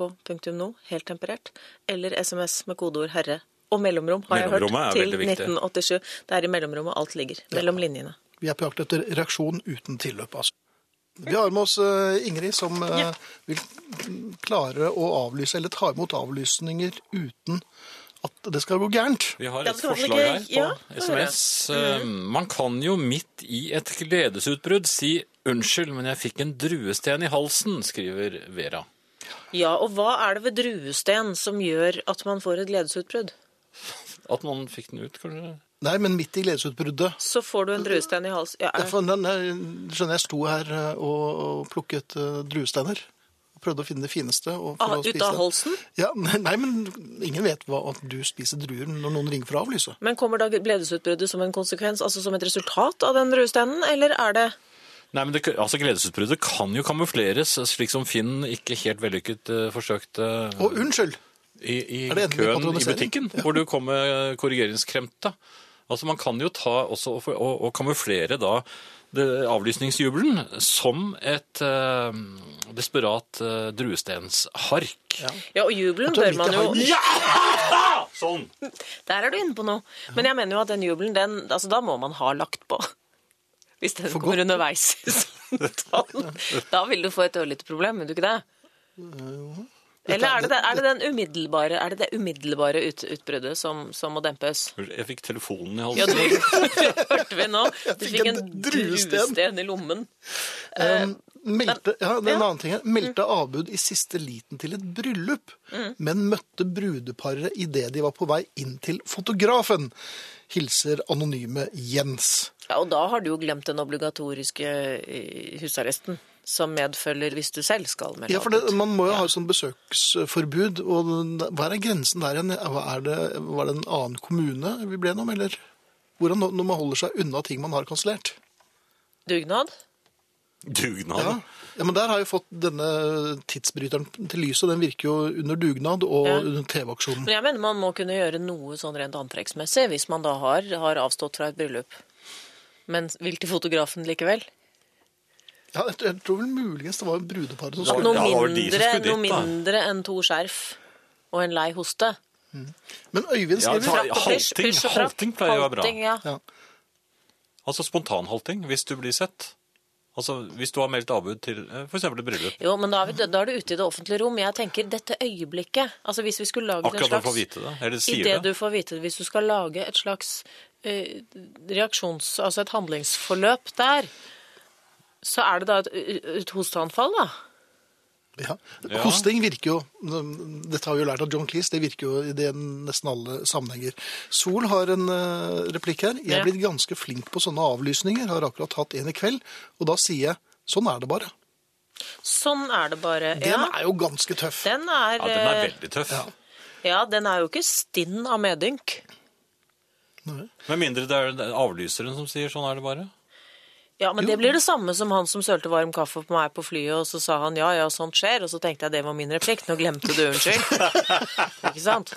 Speaker 3: nrk.no, helt temperert. Eller SMS med kodeord 'herre'. Og mellomrom, har jeg hørt,
Speaker 2: Mellomrommet er
Speaker 3: til
Speaker 2: veldig viktig.
Speaker 3: 1987. Det er i mellomrommet alt ligger. Mellom linjene.
Speaker 1: Vi er på jakt etter reaksjon uten tilløp, altså. Vi har med oss eh, Ingrid, som eh,
Speaker 3: Ja.
Speaker 1: vil klare å avlyse, eller ta imot avlysninger uten at det skal gå gærent.
Speaker 2: Vi har
Speaker 3: Ja,
Speaker 2: et
Speaker 3: det kan være
Speaker 2: forslag her
Speaker 3: gøy.
Speaker 2: på
Speaker 3: Ja, det hører jeg.
Speaker 2: SMS.
Speaker 3: Mm.
Speaker 2: Eh, Man kan jo midt i et gledesutbrudd si 'unnskyld, men jeg fikk en druesten i halsen', skriver Vera.
Speaker 3: Ja, og hva er det ved druesten som gjør at man får et gledesutbrudd?
Speaker 2: At man fikk den ut, kanskje?
Speaker 1: Nei, men midt i gledesutbruddet.
Speaker 3: Så får du en druesten i halsen. Ja, er-
Speaker 1: Derfor, den der, skjønner jeg sto her eh, og, og plukket eh, druesteiner. Og prøvde å finne det fineste. Og for
Speaker 3: Ah,
Speaker 1: å
Speaker 3: ut
Speaker 1: spise
Speaker 3: av
Speaker 1: det.
Speaker 3: halsen?
Speaker 1: Ja, nei, men ingen vet hva, at du spiser druer når noen ringer for å avlyse.
Speaker 3: Men kommer da gledesutbruddet som en konsekvens, altså som et resultat av den druestenen, eller er det
Speaker 2: Nei, men det, altså Gledesutbruddet kan jo kamufleres, slik som Finn ikke helt vellykket eh, forsøkte eh,
Speaker 1: Og unnskyld!
Speaker 2: i, i
Speaker 1: Er det enten
Speaker 2: køen i
Speaker 1: patronisering?
Speaker 2: butikken, hvor du kom med korrigeringskrem. Da. Altså, man kan jo ta også og, og, og kamuflere da det, avlysningsjubelen som et eh, desperat eh, druestenshark.
Speaker 3: Ja, og
Speaker 1: Jeg
Speaker 3: jubelen
Speaker 1: tror
Speaker 3: bør
Speaker 1: jeg
Speaker 3: man
Speaker 1: liker
Speaker 3: jo
Speaker 1: harmen.
Speaker 2: Sånn!
Speaker 3: Der er du inne på noe. Men jeg mener jo at den jubelen, den, altså da må man ha lagt på. Hvis den kommer
Speaker 1: godt.
Speaker 3: underveis i samtalen. Da vil du få et ørlite problem, vil du ikke det? Eller er det det, er det, den umiddelbare, er det, det umiddelbare ut, utbruddet som, som må dempes?
Speaker 2: Jeg fikk telefonen i
Speaker 3: Ja,
Speaker 2: halsen.
Speaker 3: du, hørte vi nå. Du
Speaker 1: fikk
Speaker 3: fikk
Speaker 1: en
Speaker 3: en
Speaker 1: druesten.
Speaker 3: druesten i lommen.
Speaker 1: Um, meldte, ja, Mm. det er en
Speaker 3: ja.
Speaker 1: annen ting her. Meldte avbud i siste liten til et bryllup, men møtte brudeparet idet de var på vei inn til fotografen. Hilser anonyme Jens.
Speaker 3: Ja, og da har du jo glemt den obligatoriske eh, husarresten som medfølger hvis du selv skal melde
Speaker 1: Ja, for det, Man må jo ha sånn besøksforbud. og den- Hva er grensen der igjen? Hva Er det, var det en annen kommune vi ble gjennom, eller? Hvordan nå- når man holder seg unna ting man har kansellert?
Speaker 3: dugnad.
Speaker 2: Dugnad.
Speaker 1: Ja. ja, men der har jeg fått denne tidsbryteren til lyset. Den virker jo under dugnad og
Speaker 3: Ja.
Speaker 1: under TV-aksjonen.
Speaker 3: Men jeg mener man må kunne gjøre noe sånn rent antrekksmessig hvis man da har, har avstått fra et bryllup. Men vil til fotografen likevel?
Speaker 1: Ja, jeg, jeg tror vel muligens det var brudeparet som
Speaker 2: Ja,
Speaker 1: skulle
Speaker 3: Noe
Speaker 2: det var de som
Speaker 3: mindre,
Speaker 2: skulle dit,
Speaker 3: noe
Speaker 2: da.
Speaker 3: mindre enn to skjerf og en lei hoste.
Speaker 1: Men Øyvind
Speaker 2: Ja,
Speaker 1: skriver
Speaker 2: ta- halting-
Speaker 3: pysj og trapp.
Speaker 2: halting pleier å være bra.
Speaker 3: Halting, ja.
Speaker 1: ja.
Speaker 2: Altså spontanhalting, hvis du blir sett. Altså hvis du har meldt avbud til eh, for eksempel et bryllup.
Speaker 3: Jo, men da er, vi, da er du ute i det offentlige rom. Jeg tenker dette øyeblikket Altså hvis vi skulle lage en
Speaker 2: Akkurat når
Speaker 3: slags
Speaker 2: du får vite det, eller
Speaker 3: I
Speaker 2: sier
Speaker 3: det
Speaker 2: det.
Speaker 3: du får vite det, hvis du skal lage et slags eh, reaksjons... Altså et handlingsforløp der, så er det da et, et hosteanfall, da.
Speaker 1: Ja.
Speaker 2: Ja.
Speaker 1: Hosting virker jo Dette har vi jo lært av John Cleese, det virker jo i det nesten alle sammenhenger. Sol har en eh, replikk her. Jeg
Speaker 3: Ja.
Speaker 1: er blitt ganske flink på sånne avlysninger. Har akkurat hatt en i kveld. Og da sier jeg sånn er det bare.
Speaker 3: Sånn er det bare.
Speaker 1: Den
Speaker 3: ja.
Speaker 1: er jo ganske tøff.
Speaker 3: Den er,
Speaker 2: Ja, den er
Speaker 3: eh,
Speaker 2: veldig tøff.
Speaker 1: Ja.
Speaker 3: ja, den er jo ikke stinn av medynk.
Speaker 1: Nei.
Speaker 2: Med mindre det er avlyseren som sier sånn er det bare.
Speaker 3: Ja, men
Speaker 1: Jo.
Speaker 3: det blir det samme som han som sølte varm kaffe på meg på flyet, og så sa han ja, ja, sånt skjer, og så tenkte jeg det var min replikk, nå glemte du, unnskyld. Ikke sant?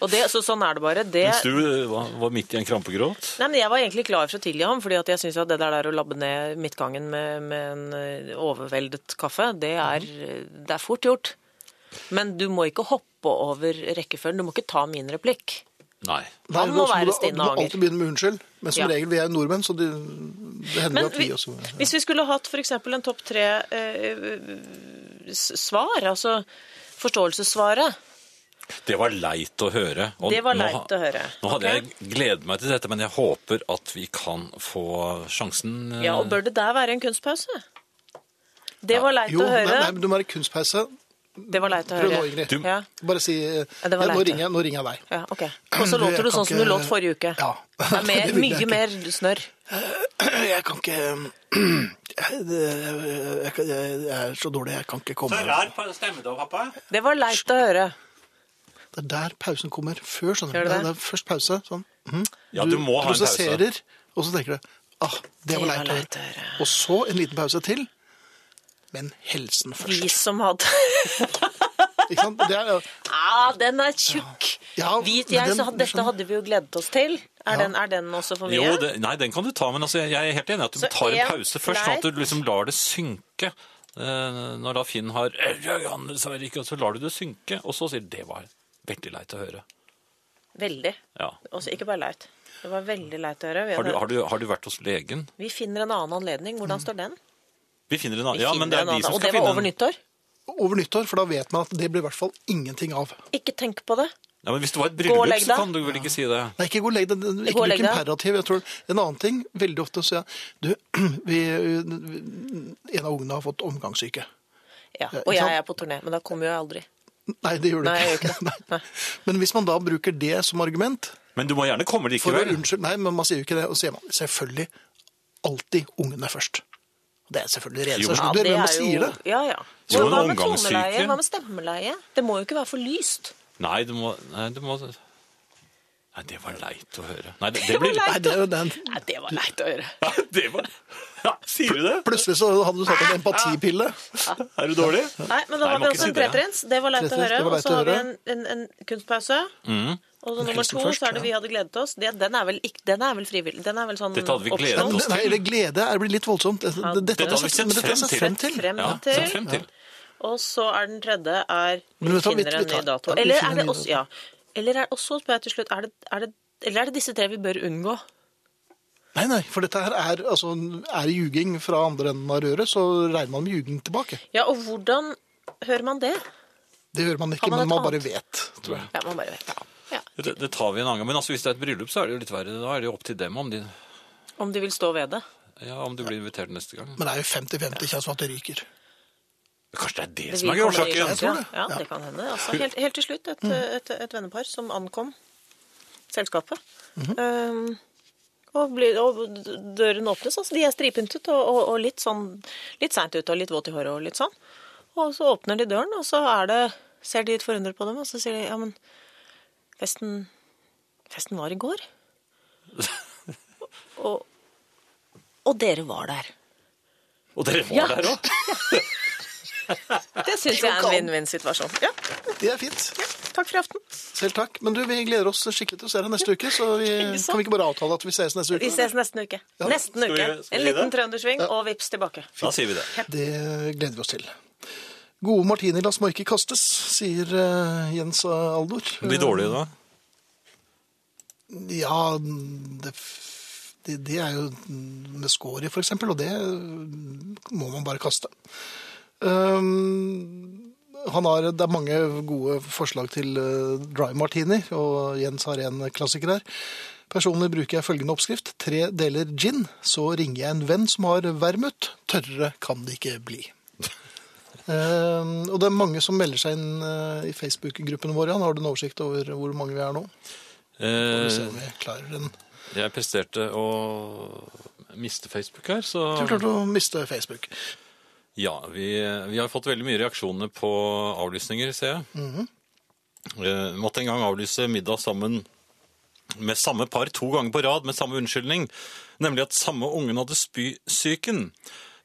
Speaker 3: Og det, så sånn er det bare. Det,
Speaker 2: Mens du eh, var, var midt i en krampegråt.
Speaker 3: Nei, men Jeg var egentlig klar for å tilgi ham, fordi at jeg syns at det der, der å labbe ned midtgangen med, med en eh, overveldet kaffe, det er, det er fort gjort. Men du må ikke hoppe over rekkefølgen. Du må ikke ta min replikk.
Speaker 2: Nei.
Speaker 3: Han
Speaker 1: Nei,
Speaker 3: må
Speaker 1: også
Speaker 3: være
Speaker 1: du-
Speaker 3: Stine
Speaker 1: Du må
Speaker 3: Hager.
Speaker 1: alltid begynne med unnskyld. Men som
Speaker 3: Ja.
Speaker 1: regel, vi er jo nordmenn, så det, det hender
Speaker 3: Men
Speaker 1: jo at vi
Speaker 3: vi,
Speaker 1: også
Speaker 3: hvis vi skulle hatt f.eks. en topp tre eh, s- svar, altså forståelsessvaret
Speaker 2: Det var leit å høre. og
Speaker 3: Det var
Speaker 2: nå
Speaker 3: leit
Speaker 2: ha-
Speaker 3: å høre.
Speaker 2: Nå hadde
Speaker 3: Ok.
Speaker 2: jeg gledet meg til dette, men jeg håper at vi kan få sjansen. eh,
Speaker 3: Ja, og bør det der være en kunstpause? Det var leit
Speaker 1: Jo,
Speaker 3: å
Speaker 1: nei,
Speaker 3: høre.
Speaker 1: nei, men du må være kunstpause.
Speaker 3: Det var leit å
Speaker 1: Prøv nå,
Speaker 3: høre.
Speaker 1: Ingrid.
Speaker 2: Du-
Speaker 3: Ja,
Speaker 1: Bare si eh, ja,
Speaker 3: det var
Speaker 1: nå,
Speaker 3: leit.
Speaker 1: ringer jeg, 'Nå ringer jeg deg'.
Speaker 3: ja, ok. Og så
Speaker 1: Du, jeg
Speaker 3: låter du
Speaker 1: kan
Speaker 3: sånn som du
Speaker 1: ikke-
Speaker 3: låt forrige uke.
Speaker 1: Ja.
Speaker 3: Det er mer,
Speaker 1: Det vil jeg
Speaker 3: mye
Speaker 1: ikke.
Speaker 3: mer snørr.
Speaker 1: Jeg kan ikke jeg, det- jeg, kan- jeg, jeg er så dårlig, jeg kan ikke komme.
Speaker 2: stemme da, pappa.
Speaker 3: Det var leit å høre.
Speaker 1: Det er der pausen kommer. Før, skjønner du.
Speaker 3: Gjør
Speaker 1: Det
Speaker 3: det det?
Speaker 1: er, det er først pause. Sånn. mhm.
Speaker 2: Ja, du må ha en pause.
Speaker 1: prosesserer, og så tenker du ah, det var leit å høre. Og så en liten pause til. Men helsen først.
Speaker 3: Vi som hadde
Speaker 1: Ikke sant? Det er,
Speaker 3: Ah, den er tjukk!
Speaker 1: Ja,
Speaker 3: Hvit
Speaker 1: men
Speaker 3: jeg, så
Speaker 1: den-
Speaker 3: hadde, dette hadde vi jo gledet oss til. Er,
Speaker 1: Ja.
Speaker 3: den, er den også for mye?
Speaker 2: Jo, det, nei, den kan du ta, men altså, jeg jeg er helt enig i at du
Speaker 3: Så
Speaker 2: tar en
Speaker 3: en
Speaker 2: pause først, sånn at du liksom lar det synke. Eh, Når da Finn har «Ja, ja, han sa ikke», og så lar du det synke, og så sier du, det var veldig leit å høre.
Speaker 3: Veldig.
Speaker 2: Ja.
Speaker 3: Også, ikke bare leit. Det var veldig leit å høre. Vi,
Speaker 2: Har du,
Speaker 3: hadde-
Speaker 2: har, du, har du vært hos legen?
Speaker 3: vi finner en annen anledning.
Speaker 1: Mm.
Speaker 3: Hvordan står den?
Speaker 2: Vi finner en annen.
Speaker 3: Vi
Speaker 2: Ja, men
Speaker 3: finner
Speaker 2: det er
Speaker 3: en
Speaker 2: de
Speaker 3: annen-
Speaker 2: som
Speaker 3: og det
Speaker 2: skal
Speaker 3: var
Speaker 2: finne
Speaker 3: over
Speaker 2: en.
Speaker 3: nyttår.
Speaker 1: over nyttår, for da vet man at det blir i hvert fall ingenting av.
Speaker 3: Ikke tenk på det.
Speaker 2: Ja, men hvis det var et
Speaker 3: og
Speaker 2: bryllup,
Speaker 3: legg
Speaker 2: så
Speaker 3: deg.
Speaker 2: kan du vel ikke si det.
Speaker 1: Nei, ikke gå og legg deg. Ikke
Speaker 3: Gå og
Speaker 1: bruk
Speaker 3: legg deg.
Speaker 1: imperativ. Jeg tror en annen ting, veldig ofte sier jeg, du, vi, en av ungene har fått omgangssyke.
Speaker 3: Ja.
Speaker 1: Ja,
Speaker 3: Og
Speaker 1: ikke sant?
Speaker 3: jeg er på turné, men da kommer jo jeg aldri.
Speaker 1: Nei, det gjør du
Speaker 3: Nei, jeg gjør
Speaker 1: ikke.
Speaker 3: ikke det. Nei.
Speaker 1: Men hvis man da bruker det som argument,
Speaker 2: Men du må gjerne komme
Speaker 1: for å
Speaker 2: likevel.
Speaker 1: unnskylde, nei, men man sier jo ikke det, og så sier man selvfølgelig alltid ungene først. Det er selvfølgelig
Speaker 2: Jo.
Speaker 1: rene stasjoner, men man sier det.
Speaker 3: Ja, ja.
Speaker 2: Jo,
Speaker 3: Hva
Speaker 2: en
Speaker 3: med
Speaker 2: omgangssyke.
Speaker 3: tommeleie? Hva med stemmeleie? Det må jo ikke være for lyst.
Speaker 2: Nei, du må, nei, du må Nei, det var leit å høre. Nei, det, det
Speaker 3: var
Speaker 2: blir
Speaker 1: Nei, det er jo den.
Speaker 3: Nei, det var leit å høre.
Speaker 2: Nei, det var ja, Sier du det?
Speaker 1: Plutselig så hadde du tatt en empatipille.
Speaker 2: Er du dårlig?
Speaker 3: Nei, men da
Speaker 2: Nei,
Speaker 3: har
Speaker 2: må ikke
Speaker 3: vi altså
Speaker 2: si
Speaker 3: en
Speaker 2: det.
Speaker 3: tretrinns. Det var leit å
Speaker 1: Tretrinns,
Speaker 3: høre.
Speaker 1: det var
Speaker 3: Og
Speaker 1: leit
Speaker 3: så
Speaker 1: å
Speaker 3: har vi en,
Speaker 1: høre.
Speaker 3: en, en kunstpause.
Speaker 2: Mm.
Speaker 3: Og så nummer
Speaker 1: helst
Speaker 3: to,
Speaker 1: først,
Speaker 3: så er det
Speaker 1: ja.
Speaker 3: vi hadde gledet oss. Det, den, er vel ikke, den er vel frivillig. Den er vel sånn
Speaker 2: Dette hadde vi gledet
Speaker 1: Men
Speaker 2: oss
Speaker 1: Nei, eller glede er blir litt voldsomt. Dette,
Speaker 3: Ja,
Speaker 1: dette,
Speaker 2: Dette har vi sett
Speaker 1: men dette har vi sett
Speaker 2: frem til.
Speaker 1: frem til.
Speaker 3: Frem
Speaker 2: Ja,
Speaker 3: til.
Speaker 2: så frem til.
Speaker 3: Og så er den tredje er Vi
Speaker 1: Men vet du hva, vi- vi
Speaker 3: finner en ny
Speaker 1: tar-
Speaker 3: dato.
Speaker 1: ja, vi
Speaker 3: Eller
Speaker 1: finner
Speaker 3: er
Speaker 1: en
Speaker 3: det
Speaker 1: ny
Speaker 3: også Ja. Eller er også, spør jeg til slutt, er det, er det eller er det disse tre vi bør unngå?
Speaker 1: Nei, nei, for dette her er, altså, er ljuging fra andre enden av røret, så regner man med ljuging tilbake.
Speaker 3: Ja, og hvordan hører man det?
Speaker 1: Det gjør man ikke,
Speaker 3: Har man et
Speaker 1: men man bare
Speaker 3: annet?
Speaker 1: vet, tror jeg.
Speaker 3: Ja, man bare vet. Ja.
Speaker 2: Det, det tar vi en annen gang. Men altså, hvis det er et bryllup, så er det jo litt verre. Da er det jo opp til dem om, de,
Speaker 3: Om de vil stå ved det.
Speaker 2: ja, om du blir invitert neste gang.
Speaker 1: Men det er jo 50-50 sjanse for at det ryker.
Speaker 2: Kanskje det er det
Speaker 3: Det
Speaker 2: som
Speaker 3: vil
Speaker 2: er
Speaker 3: komme i
Speaker 2: årsaken?
Speaker 1: Jeg tror
Speaker 3: gang,
Speaker 1: det.
Speaker 3: Ja, Ja,
Speaker 1: Ja.
Speaker 3: det kan hende. Altså, helt, helt til slutt, et, et, et vennepar som ankom selskapet. um, og, blir- og døren åpnes, altså. De er stripyntet og, og, og litt sånn litt seint ute og litt våt i håret og litt sånn. Og så åpner de døren, og så er det, ser de litt forundret på dem, og så sier de ja, men festen, festen var i går. og, og dere var der.
Speaker 2: Og dere var
Speaker 3: Ja.
Speaker 2: der òg!
Speaker 3: Det syns jeg er en vinn-vinn-situasjon. Ja,
Speaker 1: Det er fint.
Speaker 3: takk for i aften.
Speaker 1: Selv takk. Men du, vi gleder oss skikkelig til å se deg neste uke, så vi,
Speaker 3: Ikke sant?
Speaker 1: kan vi ikke bare avtale at vi ses neste uke?
Speaker 3: Vi ses nesten uke.
Speaker 1: Ja.
Speaker 3: Nesten
Speaker 2: Skal vi-
Speaker 3: uke.
Speaker 2: skal vi
Speaker 3: En
Speaker 2: gi
Speaker 3: liten
Speaker 2: det?
Speaker 3: trøndersving, og vips tilbake.
Speaker 2: Da sier vi det.
Speaker 1: Det gleder vi oss til. Gode martini, la smarke kastes, sier eh, Jens Aldor.
Speaker 2: De dårlige, da?
Speaker 1: Ja, det, f- det, det er jo med skår i, for eksempel, og det må man bare kaste. Ehm, han har, det er mange gode forslag til eh, dry martini, og Jens har en klassiker her. Personlig bruker jeg følgende oppskrift. Tre deler gin, så ringer jeg en venn som har vermut. Tørrere kan det ikke bli. Ehm, og det er mange som melder seg inn eh, i Facebook-gruppene våre. Har du en oversikt over hvor mange vi er nå? Vi ser
Speaker 2: Eh,
Speaker 1: om vi klarer den.
Speaker 2: jeg presterte å miste Facebook her, så
Speaker 1: Du klarte å miste Facebook.
Speaker 2: Ja, vi, vi har fått veldig mye reaksjoner på
Speaker 1: Mhm.
Speaker 2: avlysninger, ser jeg. Eh, måtte en gang avlyse middag sammen med samme par to ganger på rad med samme unnskyldning, nemlig at samme ungen hadde spysyken.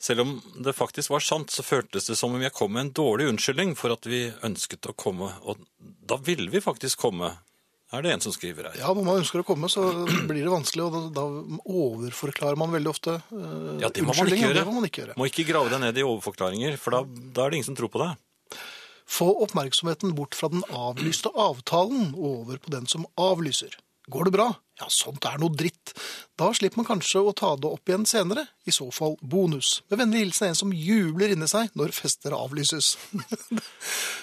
Speaker 2: Selv om det faktisk var sant, så føltes det som om jeg kom med en dårlig unnskyldning for at vi ønsket å komme, og da ville vi faktisk komme, er det en som skriver her.
Speaker 1: Ja, når man ønsker å komme, så blir det vanskelig, og da, da overforklarer man veldig ofte eh,
Speaker 2: Ja, det må man ikke
Speaker 1: unnskyldninger, og
Speaker 2: gjøre.
Speaker 1: Det må man ikke gjøre.
Speaker 2: Må ikke grave deg ned i overforklaringer, for da, da er det ingen som tror på deg.
Speaker 1: Få oppmerksomheten bort fra den avlyste avtalen og over på den som avlyser. Går det bra? Ja, sånt er noe dritt. Da slipper man kanskje å ta det opp igjen senere. I så fall bonus. Med vennlig hilsen en som jubler inni seg når fester avlyses.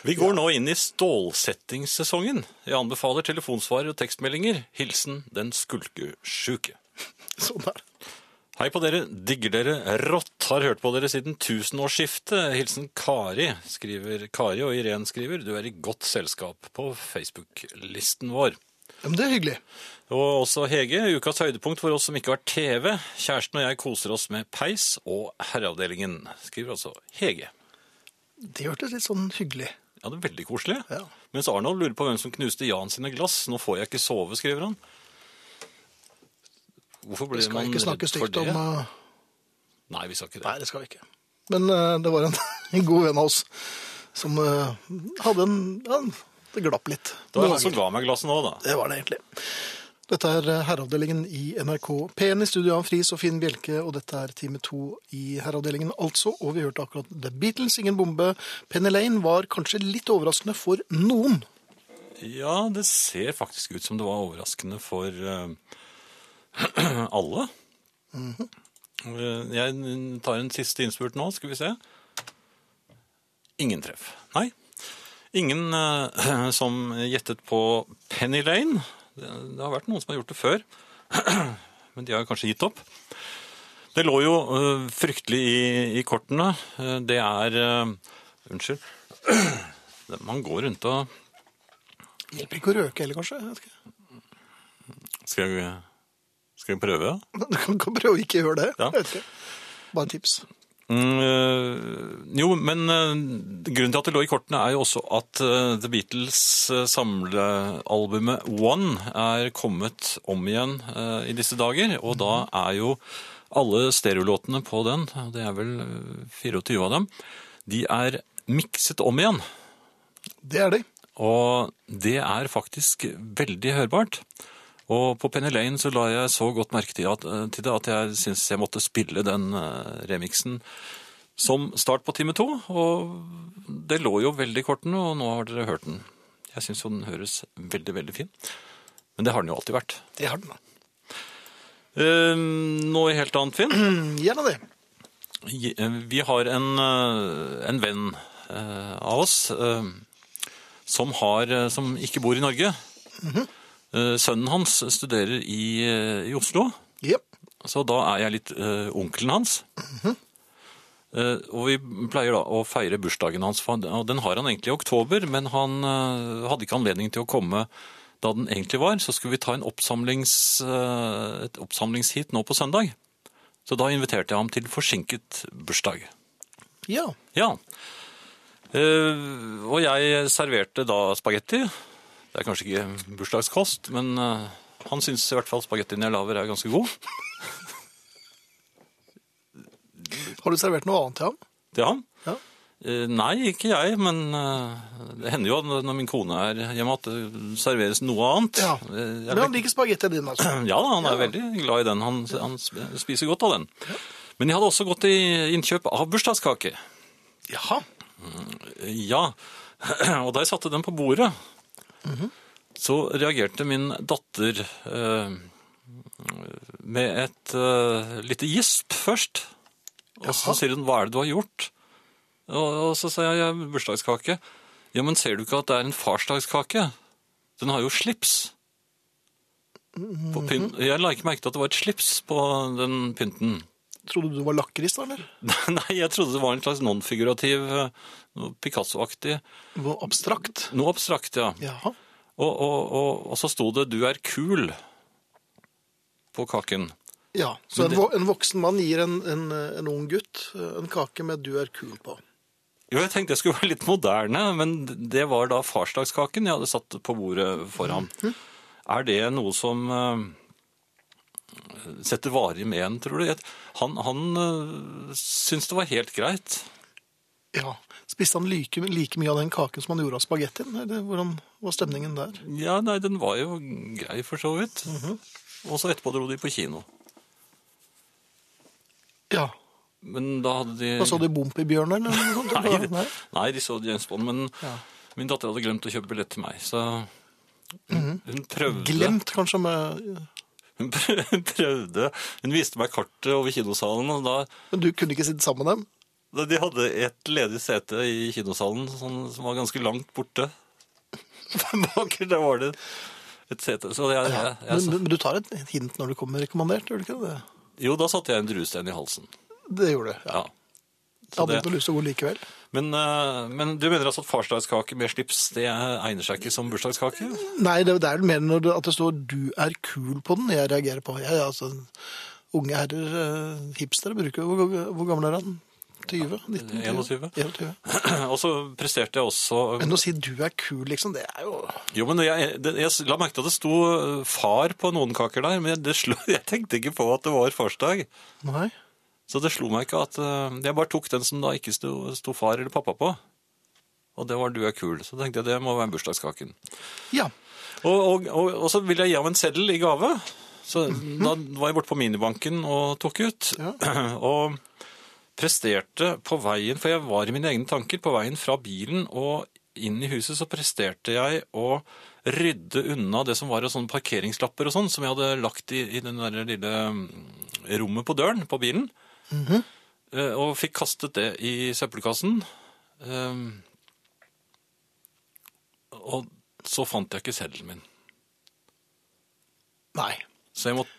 Speaker 2: Vi går nå inn i stålsettingssesongen. Jeg anbefaler telefonsvarer og tekstmeldinger. Hilsen den skulkesjuke.
Speaker 1: sånn er det.
Speaker 2: Hei på dere, digger dere rått, har hørt på dere siden tusenårsskiftet. Hilsen Kari, skriver Kari, og Irene skriver, du er i godt selskap på Facebook-listen vår.
Speaker 1: Ja, Men det er hyggelig.
Speaker 2: Og også Hege, ukas høydepunkt for oss som ikke har TV. Kjæresten og jeg koser oss med peis og herreavdelingen, skriver altså Hege.
Speaker 1: Det hørtes litt sånn hyggelig.
Speaker 2: Ja, det er veldig koselig.
Speaker 1: Ja.
Speaker 2: Mens Arnold lurer på hvem som knuste Jan sine glass. Nå får jeg ikke sove, skriver han. Hvorfor blir
Speaker 1: Vi skal
Speaker 2: man
Speaker 1: ikke
Speaker 2: redd
Speaker 1: snakke
Speaker 2: for
Speaker 1: stygt om
Speaker 2: det?
Speaker 1: eh,
Speaker 2: Nei, vi skal ikke det.
Speaker 1: Nei, det skal vi ikke. Men eh, det var en, en god venn av oss som eh, hadde en, ja, Det glapp litt.
Speaker 2: Det var
Speaker 1: Noen
Speaker 2: han som
Speaker 1: ganger.
Speaker 2: ga meg glasset nå, da.
Speaker 1: Det var det egentlig. Dette er eh, herreavdelingen i NRK P1 i studio av Friis og Finn Bjelke, og dette er time to i herreavdelingen altså, og vi hørte akkurat The Beatles, ingen bombe. Penny Lane var kanskje litt overraskende for noen.
Speaker 2: Ja, det ser faktisk ut som det var overraskende for eh, alle. Eh, Jeg tar en siste innspurt nå, skal vi se. Ingen treff. Nei. Ingen eh, som gjettet på Penny Lane. Det, det har vært noen som har gjort det før, men de har kanskje gitt opp. Det lå jo eh, fryktelig i, i kortene. Eh, Det er eh, Unnskyld. Man går rundt og
Speaker 1: Hjelper ikke å røke heller, kanskje? Jeg vet ikke.
Speaker 2: Skal jeg, skal jeg prøve?
Speaker 1: Du kan kan prøve å ikke gjøre det.
Speaker 2: Ja.
Speaker 1: Jeg vet ikke. Bare et tips.
Speaker 2: Mm, øh, jo, men øh, grunnen til at det lå i kortene er jo også at øh, The Beatles øh, samlealbumet One er kommet om igjen øh, i disse dager, og da er jo alle stereolåtene på den, det er vel øh, 24 av dem, de er mikset om igjen.
Speaker 1: Det er de.
Speaker 2: Og det er faktisk veldig hørbart. Og på Penny Lane så la jeg så godt merke til, at, eh, til det at jeg syntes jeg måtte spille den eh, remixen som start på time to. Og det lå jo veldig i kortene, og nå har dere hørt den. Jeg syns jo den høres veldig, veldig fin. Men det har den jo alltid vært.
Speaker 1: Det har den, da.
Speaker 2: Eh, noe helt annet, Finn.
Speaker 1: Mm, Gjerne det.
Speaker 2: Je- eh, Vi har en, eh, en venn eh, av oss eh, som, har, eh, som ikke bor i Norge. Eh, Sønnen hans studerer i, eh, i Oslo,
Speaker 1: Jep.
Speaker 2: så da er jeg litt eh, onkelen hans. Eh, og vi pleier da å feire bursdagen hans, for han- og den har han egentlig i oktober, men han eh, hadde ikke anledning til å komme da den egentlig var, så skulle vi ta en oppsamlings, eh, et oppsamlingshit nå på søndag. Så da inviterte jeg ham til forsinket bursdag.
Speaker 1: Ja.
Speaker 2: Ja. Eh, og jeg serverte da spagetti. Det er kanskje ikke bursdagskost, men eh, han syns i hvert fall spagettien jeg lager er ganske god.
Speaker 1: Har du servert noe annet til ham?
Speaker 2: Det er han.
Speaker 1: Ja.
Speaker 2: Eh, Nei, ikke jeg, men eh, det hender jo at når min kone er hjemme at det serveres noe annet.
Speaker 1: Ja.
Speaker 2: Eh, jeg
Speaker 1: Men han liker spagettien din, altså.
Speaker 2: Ja, da, han er veldig glad i den. Han, han spiser godt av den. Men jeg hadde også gått i innkjøp av bursdagskake.
Speaker 1: Jaha.
Speaker 2: Ja, og da jeg satte den på bordet, så reagerte min datter eh, med et eh, lite gisp først. Og så
Speaker 1: Jaha.
Speaker 2: sier hun, hva er det du har gjort? Og, og så sa jeg, «Ja, bursdagskake. Ja, men ser du ikke at det er en farsdagskake? Den har jo slips. På pyn- Jeg la ikke merke til at det var et slips på den pynten.
Speaker 1: Trodde du var lakris, da, eller?
Speaker 2: Nei, jeg trodde det var en slags non-figurativ, eh, noe Picasso-aktig.
Speaker 1: Noe abstrakt.
Speaker 2: Noe abstrakt, ja.
Speaker 1: Jaha.
Speaker 2: Og, og, og, og så sto det 'du er kul' på kaken.
Speaker 1: Ja, så en, vo- en voksen mann gir en, en, en ung gutt eh, en kake med 'du er kul' på.
Speaker 2: Jo, jeg tenkte jeg skulle være litt moderne, men det var da farsdagskaken jeg hadde satt på bordet for ham. Er det noe som eh, setter varig med en, tror du? Jeg- Han, han eh, syntes det var helt greit.
Speaker 1: Ja. Spiste han like, like mye av den kaken som han gjorde av spagettien? Eller hvordan var stemningen der?
Speaker 2: Ja, nei, den var jo grei for så vidt. Og så etterpå dro de på kino.
Speaker 1: Ja.
Speaker 2: Men da hadde de
Speaker 1: Da så de Bompibjørn eller noe sånt?
Speaker 2: Nei,
Speaker 1: eller? Nei.
Speaker 2: nei, de så James Bond, men
Speaker 1: Ja.
Speaker 2: min datter hadde glemt å kjøpe billett til meg, så hun, hun prøvde
Speaker 1: Mhm. Glemt kanskje med
Speaker 2: Hun prøvde Hun viste meg kartet over kinosalen, og da
Speaker 1: Men du kunne ikke sitte sammen med dem?
Speaker 2: da de hadde et ledig sete i kinosalen sånn, som var ganske langt borte. Baker der var det et sete. Så jeg, jeg, jeg,
Speaker 1: Men, men du tar et hint når du kommer med rekommandert, gjør du ikke det?
Speaker 2: jo, da satte jeg en druestein i halsen.
Speaker 1: Det gjorde du. Ja.
Speaker 2: Ja.
Speaker 1: Jeg hadde
Speaker 2: det-
Speaker 1: ikke noe lyst til å gå likevel.
Speaker 2: Men, eh, men du mener altså at farsdagskake med slips det egner seg ikke som bursdagskake?
Speaker 1: Nei, det, det er vel mer når det, at det står 'du er kul' på den, jeg reagerer på. Jeg, altså, unge herrer, eh, hipstere, bruker jo hvor, hvor gammel er han? 20? 19,
Speaker 2: 21.
Speaker 1: 21.
Speaker 2: Og så presterte jeg også
Speaker 1: Men å si 'du er kul', liksom, det er jo
Speaker 2: Jo, men jeg, det, jeg la merke til at det sto eh, far på noen kaker der, men det slo, jeg tenkte ikke på at det var farsdag.
Speaker 1: Nei.
Speaker 2: Så det slo meg ikke at eh, Jeg bare tok den som da ikke sto, sto far eller pappa på. Og det var 'du er kul'. Så tenkte jeg det må være bursdagskaken.
Speaker 1: Ja.
Speaker 2: Og, og, og, og så ville jeg gi ham en seddel i gave. Så da var jeg borte på minibanken og tok ut. Og presterte på veien, for jeg var i mine egne tanker, på veien fra bilen og inn i huset, så presterte jeg å rydde unna det som var av sånne parkeringslapper og sånn, som jeg hadde lagt i, i den der lille mm, rommet på døren på bilen. Eh, Og fikk kastet det i søppelkassen. Ehm, Og så fant jeg ikke seddelen min.
Speaker 1: Nei.
Speaker 2: Så jeg måtte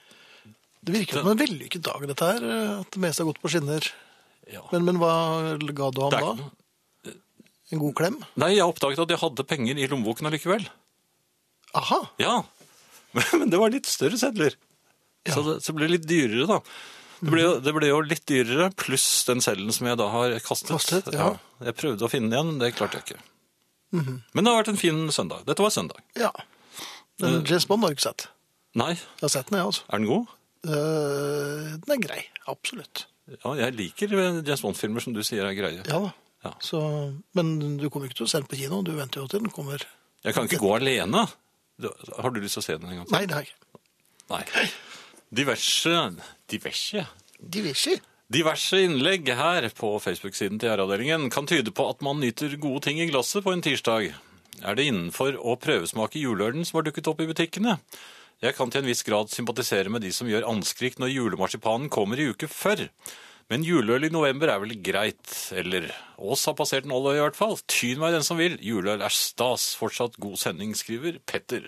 Speaker 1: Det virker som en vellykket dag, dette her. eh, At det meste har gått på skinner.
Speaker 2: ja.
Speaker 1: Men, men hva ga du ham
Speaker 2: Det er
Speaker 1: da?
Speaker 2: ikke noe.
Speaker 1: En god klem?
Speaker 2: Nei, jeg oppdaget at jeg hadde penger i lommeboken allikevel.
Speaker 1: Aha!
Speaker 2: Ja, men, men det var litt større sedler. Så, det, så det ble litt dyrere, da. Det ble, jo,
Speaker 1: Mhm.
Speaker 2: det ble jo litt dyrere, pluss den seddelen som jeg da har kastet.
Speaker 1: Kastet, ja. Mhm.
Speaker 2: Jeg prøvde å finne den igjen, det klarte jeg ikke. Men det har vært en fin søndag. Dette var søndag.
Speaker 1: Ja.
Speaker 2: Eh.
Speaker 1: Den James Bond har jeg ikke sett.
Speaker 2: Nei,
Speaker 1: Jeg har sett den, jeg, altså.
Speaker 2: er den god?
Speaker 1: Eh, Den er grei. Absolutt.
Speaker 2: Ja, jeg liker James Bond-filmer som du sier er greie.
Speaker 1: Ja da.
Speaker 2: Ja.
Speaker 1: Så, men du kommer ikke til å se den på kino, du venter jo til den kommer.
Speaker 2: Jeg kan ikke gå alene. Du- Har du lyst til å se den en gang?
Speaker 1: Nei, det har jeg ikke.
Speaker 2: Nei. Diverse, diverse
Speaker 1: De vil ikke.
Speaker 2: Diverse innlegg her på Facebook-siden til Gjerdavdelingen kan tyde på at man nyter gode ting i glasset på en tirsdag. Er det innenfor å prøvesmake juleølen som har dukket opp i butikkene? Jeg kan til en viss grad sympatisere med de som gjør anskrik når julemarsipanen kommer i uke før. Men juleøl i november er vel greit, eller Ås har passert en olje i hvert fall. Tyn meg den som vil, juleøl er stas. Fortsatt god sending, skriver Petter.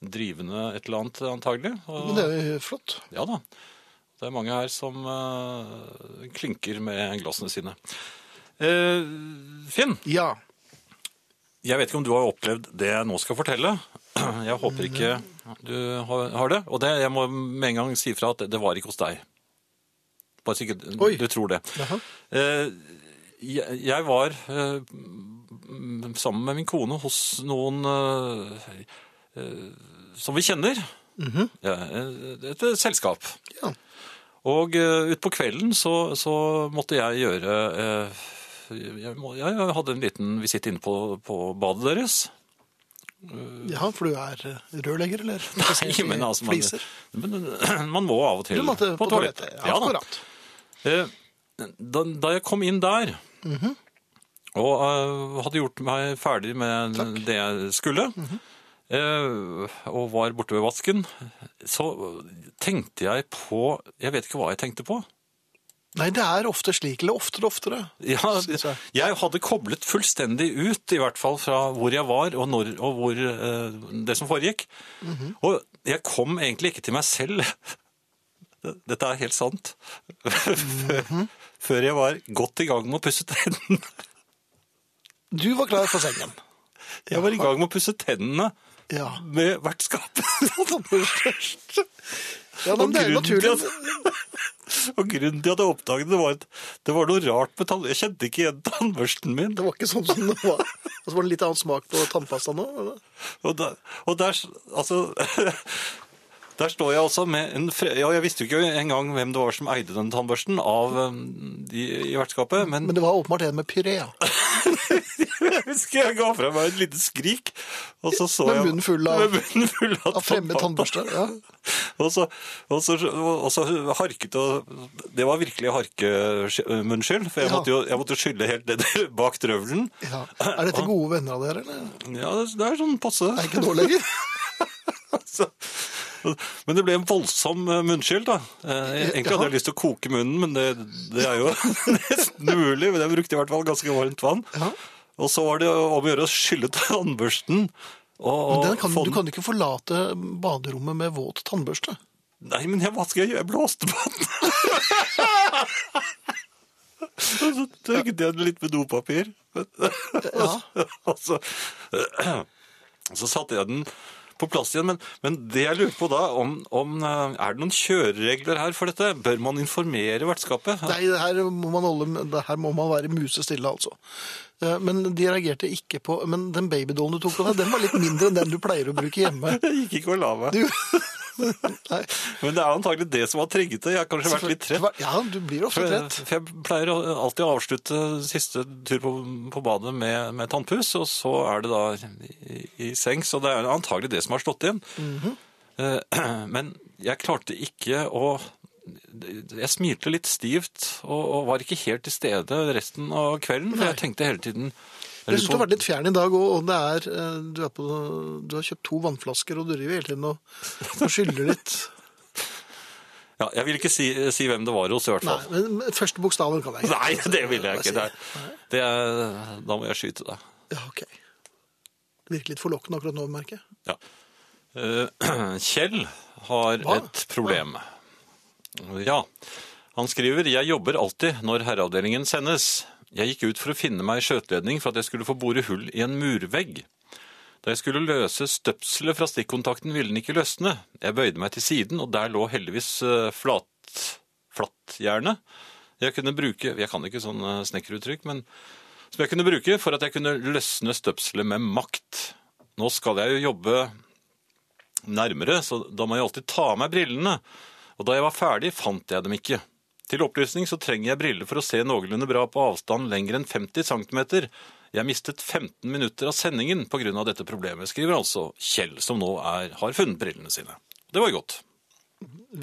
Speaker 2: Drivende et eller annet, antagelig.
Speaker 1: Men
Speaker 2: og-
Speaker 1: det er jo flott.
Speaker 2: ja da. Det er mange her som eh, klinker med glassene sine. Eh, Finn,
Speaker 1: Ja.
Speaker 2: jeg vet ikke om du har opplevd det jeg nå skal fortelle. Jeg håper ikke du har har det. Og det, jeg må med en gang si fra at det var ikke hos deg. Bare så ikke
Speaker 1: Oi.
Speaker 2: du tror det.
Speaker 1: Jaha.
Speaker 2: Eh, jeg, jeg var eh, m- sammen med min kone hos noen eh, eh, som vi kjenner. Ja, eh, et, et selskap.
Speaker 1: Mhm. Ja.
Speaker 2: Og uh, utpå kvelden så, så måtte jeg gjøre eh, jeg, må, jeg hadde en liten visitt inne på, på badet deres.
Speaker 1: ja, for du er eh, rørlegger, eller?
Speaker 2: Nei, men altså, man,
Speaker 1: Fliser.
Speaker 2: men man må av og til
Speaker 1: Du måtte på toalettet.
Speaker 2: Ja, da.
Speaker 1: akkurat.
Speaker 2: Eh, Da, da jeg kom inn der, og eh, hadde gjort meg ferdig med det jeg skulle, eh, og var borte ved vasken, så tenkte jeg på Jeg vet ikke hva jeg tenkte på.
Speaker 1: Nei, det er ofte slik, eller oftere og oftere.
Speaker 2: Ja,
Speaker 1: Synes jeg.
Speaker 2: jeg hadde koblet fullstendig ut, i hvert fall fra hvor jeg var og, når, og hvor, eh, det som foregikk. Og jeg kom egentlig ikke til meg selv. Dette er helt sant. Før jeg var godt i gang med å pusse tennene.
Speaker 1: Du var klar for sengen.
Speaker 2: Jeg var i gang med å pusse tennene
Speaker 1: Ja.
Speaker 2: med vertskapet.
Speaker 1: ja men
Speaker 2: Og
Speaker 1: det er jo
Speaker 2: grunnen til
Speaker 1: naturlig.
Speaker 2: Og grunnen til at jeg oppdaget det, var at det var noe rart med tann... Jeg kjente ikke igjen tannbørsten min.
Speaker 1: Det var ikke sånn som det var. Og så var det en litt annen smak på tannpasta nå. eller?
Speaker 2: Og der, og der altså Der står jeg også med en fre... Ja, jeg visste jo ikke engang hvem det var som eide den tannbørsten av um, de i vertskapet, men,
Speaker 1: Men det var åpenbart en med pyré. ja.
Speaker 2: jeg husker jeg ga fra meg et lite skrik, og så så
Speaker 1: Med
Speaker 2: jeg
Speaker 1: munnen full av-
Speaker 2: Med munnen full av,
Speaker 1: Av fremmed tannbørste. Ja.
Speaker 2: og, så, og, så, og så harket og Det var virkelig harkemunnskyld, for jeg,
Speaker 1: Ja.
Speaker 2: måtte jo, jeg måtte jo skylle helt ned bak drøvelen.
Speaker 1: Ja. Er dette gode venner av dere, eller?
Speaker 2: Ja, det, det er sånn passe.
Speaker 1: Er ikke nå lenger?
Speaker 2: Så, men det ble en voldsom eh, munnskyld, da. Eh, Egentlig hadde jeg lyst til å koke munnen, men det, det er jo nesten umulig. Men jeg brukte i hvert fall ganske varmt vann.
Speaker 1: Ja.
Speaker 2: Og så var det om å gjøre å skylle tannbørsten. Og, og
Speaker 1: Men den kan,
Speaker 2: få
Speaker 1: du
Speaker 2: den-
Speaker 1: kan ikke forlate baderommet med våt tannbørste.
Speaker 2: Nei, men jeg, hva skal jeg gjøre? Jeg blåste på den! Og så tørket jeg den litt med dopapir.
Speaker 1: Ja.
Speaker 2: og så, så satte jeg den på plass igjen. Men, men det jeg lurer på da, om, om eh, er det noen kjøreregler her for dette? Bør man informere vertskapet?
Speaker 1: Nei, det her må man, holde, det her må man være musestille, altså. Eh, Men de reagerte ikke på Men den babydollen du tok av deg, den var litt mindre enn den du pleier å bruke hjemme.
Speaker 2: Jeg gikk ikke og la meg.
Speaker 1: Du, nei,
Speaker 2: Men det er antagelig det som har trigget det. Jeg har kanskje vært litt trett.
Speaker 1: Ja, du blir ofte
Speaker 2: For,
Speaker 1: trett.
Speaker 2: for jeg pleier å- alltid å avslutte siste tur på, på badet med, med tannpuss, og så er det da i, i seng, så det er antagelig det som har slått igjen.
Speaker 1: Mhm.
Speaker 2: Eh, Men jeg klarte ikke å Jeg smilte litt stivt og, og var ikke helt til stede resten av kvelden, for jeg tenkte hele tiden
Speaker 1: Jeg syns du har vært litt fjern i dag òg, og det er, eh, du, er på, du har kjøpt to vannflasker, og du driver hele tiden og, og skyller litt.
Speaker 2: ja, Jeg vil ikke si, si hvem det var hos, i hvert
Speaker 1: Nei,
Speaker 2: fall.
Speaker 1: men første bokstaven kan jeg
Speaker 2: Nei, det vil jeg ikke. Det, er- det er, da må jeg skyte deg.
Speaker 1: Ja, ok. Det virker litt forlokkende akkurat nå, merker jeg.
Speaker 2: Ja. Eh, Kjell har
Speaker 1: Hva?
Speaker 2: et problem. Ja. Han skriver Jeg jobber alltid når herreavdelingen sendes. Jeg gikk ut for å finne meg skjøteledning for at jeg skulle få bore hull i en murvegg. Da jeg skulle løse støpselet fra stikkontakten, ville den ikke løsne. Jeg bøyde meg til siden, og der lå heldigvis eh, flat, flattjernet. Jeg kunne bruke Jeg kan ikke sånn eh, snekkeruttrykk, men som jeg kunne bruke for at jeg kunne løsne støpselet med makt. Nå skal jeg jo jobbe nærmere, så da må jeg alltid ta av meg brillene. Og da jeg var ferdig, fant jeg dem ikke. Til opplysning så trenger jeg briller for å se noenlunde bra på avstand lenger enn 50 cm. Jeg mistet 15 minutter av sendingen pga. dette problemet, skriver altså Kjell, som nå er, har funnet brillene sine. Det var jo godt.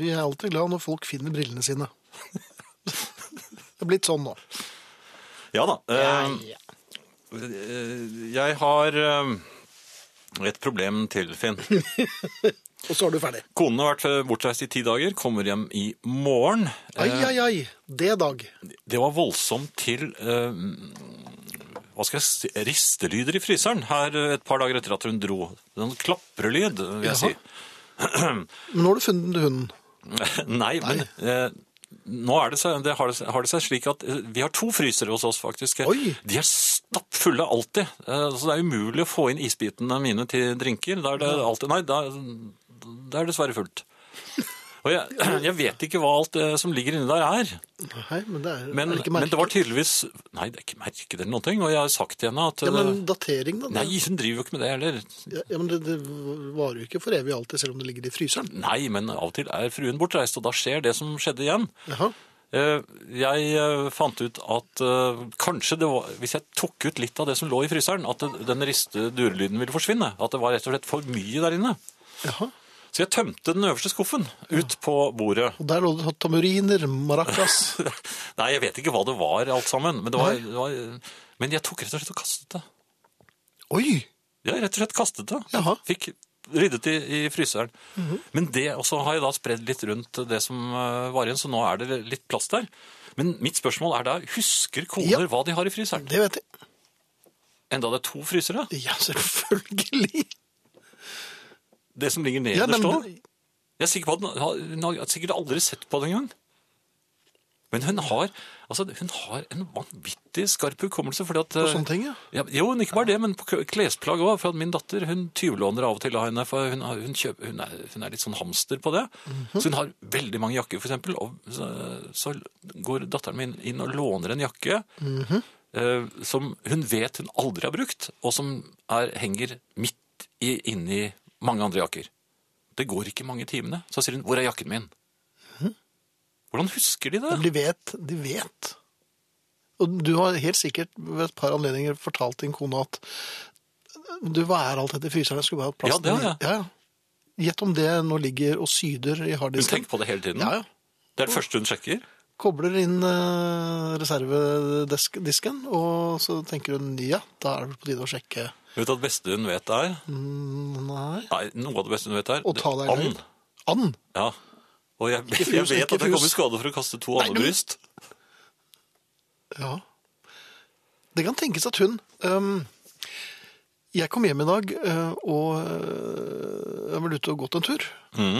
Speaker 1: Vi er alltid glad når folk finner brillene sine. Det er blitt sånn nå.
Speaker 2: Ja da. eh, Jeg har eh, et problem til, Finn.
Speaker 1: Og så er du ferdig.
Speaker 2: Konen har vært eh, bortreist i ti dager, kommer hjem i morgen. Eh,
Speaker 1: Ai, ai, ai. Det er dag.
Speaker 2: Det var voldsomt til eh, hva skal jeg si, ristelyder i fryseren her eh, et par dager etter at hun dro. Sånn klaprelyd, vil jeg si.
Speaker 1: Men nå har du funnet hunden.
Speaker 2: Nei, men eh, nå er det seg, det har, det, seg- har det seg slik at eh, vi har to frysere hos oss, faktisk.
Speaker 1: Oi!
Speaker 2: De er stappfulle alltid, eh, så det er umulig å få inn isbitene mine til drinker. Da er det alltid Nei, da, da er det dessverre fullt. Og jeg, jeg vet ikke hva alt det som ligger inni der er.
Speaker 1: Nei, men det er, er
Speaker 2: Men,
Speaker 1: det ikke
Speaker 2: men
Speaker 1: merket.
Speaker 2: det var tydeligvis Nei, det er ikke merket eller noen ting. Og jeg har sagt til henne at
Speaker 1: Ja, men
Speaker 2: eh,
Speaker 1: datering, da? det-
Speaker 2: Nei, hun driver jo ikke med det heller.
Speaker 1: Ja, ja, men det, det varer jo ikke for evig alltid, selv om det ligger i fryseren.
Speaker 2: Nei, men av og til er fruen bortreist, og da skjer det som skjedde igjen.
Speaker 1: Jaha.
Speaker 2: Eh, Jeg eh, fant ut at eh, kanskje det var Hvis jeg tok ut litt av det som lå i fryseren, at det- den riste durelyden ville forsvinne. At det var rett og slett for mye der inne.
Speaker 1: Jaha.
Speaker 2: Så jeg tømte den øverste skuffen ut på bordet.
Speaker 1: Og der lå det tamuriner, maracas
Speaker 2: Nei, jeg vet ikke hva det var, alt sammen. Men, det var, det var, men jeg tok rett og slett og kastet det.
Speaker 1: Oi!
Speaker 2: Ja, rett og slett kastet det.
Speaker 1: Jaha. Mhm.
Speaker 2: Fikk ryddet i, i fryseren. Men det, og så har jeg da spredd litt rundt det som eh, var igjen, så nå er det litt plass der. Men mitt spørsmål er da, husker koner
Speaker 1: Ja.
Speaker 2: hva de har i fryseren?
Speaker 1: Det vet jeg.
Speaker 2: Enda det er to frysere?
Speaker 1: Ja, selvfølgelig!
Speaker 2: Det som ligger
Speaker 1: Ja,
Speaker 2: nederst
Speaker 1: men-
Speaker 2: nå? Jeg er sikker på at hun har, hun har sikkert aldri sett på det engang. Men hun har, altså, hun har en vanvittig skarp hukommelse. fordi at... eh,
Speaker 1: Og sånne ting, ja.
Speaker 2: Ja, jo, men ikke bare det, men på k- klesplagg òg. For at min datter hun tyvlåner av og til av henne. for Hun, har- hun, kjøper, hun, er, hun er litt sånn hamster på det. Så hun har veldig mange jakker, f.eks. Og så, så går datteren min inn og låner en jakke. eh, som hun vet hun aldri har brukt, og som er, henger midt i, inni mange andre jakker. Det går ikke mange timene. Så sier hun 'Hvor er jakken min?' Hvordan husker de det?
Speaker 1: De vet, de vet. Og du har helt sikkert ved et par anledninger fortalt din kone at du, hva er alt dette i fryseren? Jeg skulle bare ha plass
Speaker 2: Ja, det har jeg.
Speaker 1: Ja, ja. Gjett om det nå ligger og syder i
Speaker 2: Hun
Speaker 1: harddisken.
Speaker 2: tenker på det hele tiden.
Speaker 1: Ja, ja.
Speaker 2: Det er det første hun sjekker.
Speaker 1: Kobler inn eh, reservedisken, og så tenker hun ja, da er det vel på tide å sjekke.
Speaker 2: Vet du at det beste hun vet er
Speaker 1: Mm, Nei.
Speaker 2: Nei, noe av det beste hun vet er
Speaker 1: Og ta deg
Speaker 2: and.
Speaker 1: løgn. And?
Speaker 2: Ja. Og jeg,
Speaker 1: Ikke fus,
Speaker 2: jeg vet
Speaker 1: ikke
Speaker 2: at jeg kom i
Speaker 1: fus.
Speaker 2: skade for å kaste to
Speaker 1: Nei, men-
Speaker 2: andebryst.
Speaker 1: Ja. Det kan tenkes at hun øhm, Jeg kom hjem i dag øh, og øh, jeg var ute og gått en tur.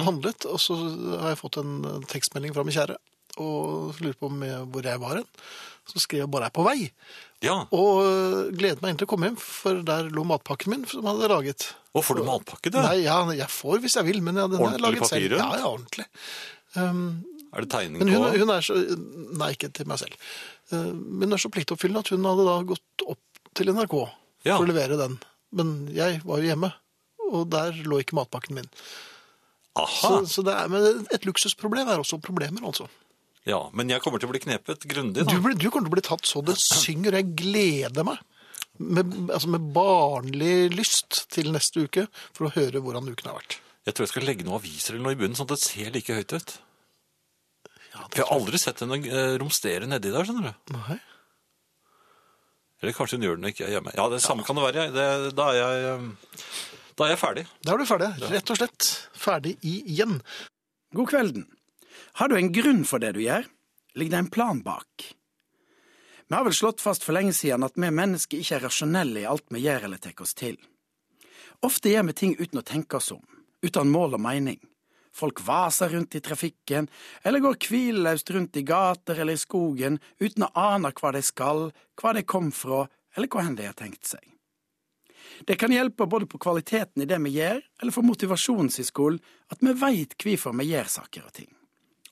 Speaker 1: Handlet. Og så har jeg fått en øh, tekstmelding fra min kjære og lurer på om jeg, hvor jeg var hen. Så skrev jeg bare 'er på vei'.
Speaker 2: Ja.
Speaker 1: Og øh, gledet meg egentlig til å komme hjem, for der lå matpakken min som jeg hadde laget.
Speaker 2: Og får du matpakke, du?
Speaker 1: Nei, ja, jeg får hvis jeg vil, men ja, den har jeg
Speaker 2: Ordentlig
Speaker 1: laget
Speaker 2: papir
Speaker 1: selv.
Speaker 2: rundt?
Speaker 1: Ja, ja, ordentlig. Øhm,
Speaker 2: Er det tegning
Speaker 1: men hun,
Speaker 2: på
Speaker 1: hun er så Nei, ikke til meg selv. Eh, Men hun er så pliktoppfyllende at hun hadde da gått opp til NRK
Speaker 2: Ja.
Speaker 1: for å levere den. Men jeg var jo hjemme, og der lå ikke matpakken min.
Speaker 2: Aha!
Speaker 1: Så, så det er, men et luksusproblem er også problemer, altså.
Speaker 2: Ja, men jeg kommer til å bli knepet grundig,
Speaker 1: Du,
Speaker 2: da.
Speaker 1: blir- du kommer til å bli tatt så det synger, og jeg gleder meg. Med, altså med barnlig lyst til neste uke for å høre hvordan uken har vært.
Speaker 2: Jeg tror jeg skal legge noen aviser eller noe i bunnen, sånn at det ser like høyt ut.
Speaker 1: Ja,
Speaker 2: For jeg har aldri sett henne eh, romstere nedi der, skjønner du.
Speaker 1: Nei.
Speaker 2: Eller kanskje hun gjør det når jeg ikke er hjemme. Ja, det samme kan det være. jeg. Det, da, er jeg, eh, da er jeg ferdig.
Speaker 1: Da er du ferdig. Rett og slett ferdig igjen.
Speaker 4: God kvelden. Har du en grunn for det du gjør? Ligger det en plan bak? Vi har vel slått fast for lenge siden at vi mennesker ikke er rasjonelle i alt vi gjør eller tar oss til. Ofte gjør vi ting uten å tenke oss om, uten mål og mening. Folk vaser rundt i trafikken, eller går hvileløst rundt i gater eller i skogen uten å ane hva de skal, hva de kom fra, eller hvor hen de har tenkt seg. Det kan hjelpe både på kvaliteten i det vi gjør, eller for motivasjonen i skolen, at vi veit hvorfor vi gjør saker og ting.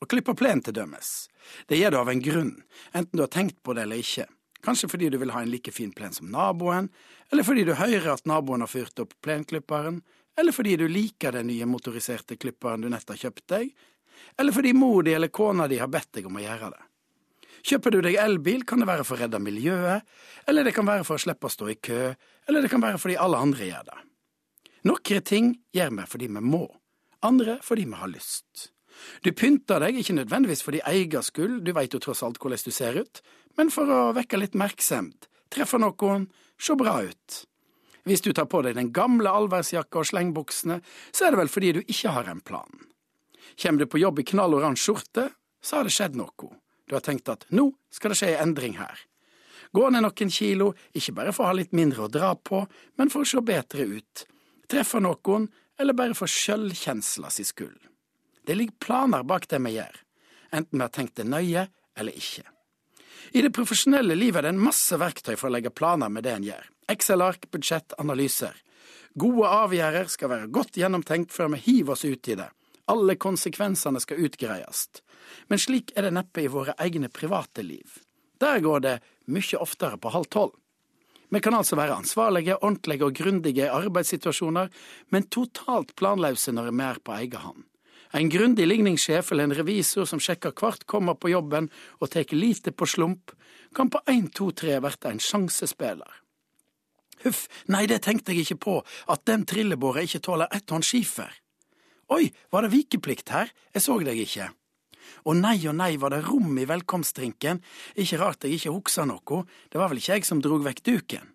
Speaker 4: Å klippe plen, til dømes. Det gjør du av en grunn, enten du har tenkt på det eller ikke. Kanskje fordi du vil ha en like fin plen som naboen, eller fordi du hører at naboen har fyrt opp plenklipperen, eller fordi du liker den nye motoriserte klipperen du nett har kjøpt deg, eller fordi mor di eller kona di har bedt deg om å gjøre det. Kjøper du deg elbil, kan det være for å redde miljøet, eller det kan være for å slippe å stå i kø, eller det kan være fordi alle andre gjør det. Noen ting gjør vi fordi vi må, andre fordi vi har lyst. Du pynter deg ikke nødvendigvis for din egen skyld, du veit jo tross alt hvordan du ser ut, men for å vekke litt merksemd, treffe noen, se bra ut. Hvis du tar på deg den gamle allværsjakka og slengbuksene, så er det vel fordi du ikke har en plan. Kjem du på jobb i knall oransje skjorte, så har det skjedd noe. Du har tenkt at nå skal det skje en endring her. Gå ned noen kilo, ikke bare for å ha litt mindre å dra på, men for å se bedre ut. Treffe noen, eller bare for sjølkjensla si skyld. Det ligger planer bak det vi gjør, enten vi har tenkt det nøye eller ikke. I det profesjonelle livet er det en masse verktøy for å legge planer med det en gjør. Excel-ark, budsjett, analyser. Gode avgjørelser skal være godt gjennomtenkt før vi hiver oss ut i det. Alle konsekvensene skal utgreies. Men slik er det neppe i våre egne private liv. Der går det mye oftere på halv tolv. Vi kan altså være ansvarlige, ordentlige og grundige i arbeidssituasjoner, men totalt planløse når vi er på egen hånd. En grundig ligningssjef eller en revisor som sjekker hvert kommer på jobben og tar lite på slump, kan på 1-2-3 bli en sjansespiller. Huff, nei, det tenkte jeg ikke på, at den trillebåra ikke tåler ett tonn skifer. Oi, var det vikeplikt her, jeg så deg ikke. Og nei og nei var det rom i velkomstdrinken, ikke rart jeg ikke hoksa noe, det var vel ikke jeg som drog vekk duken.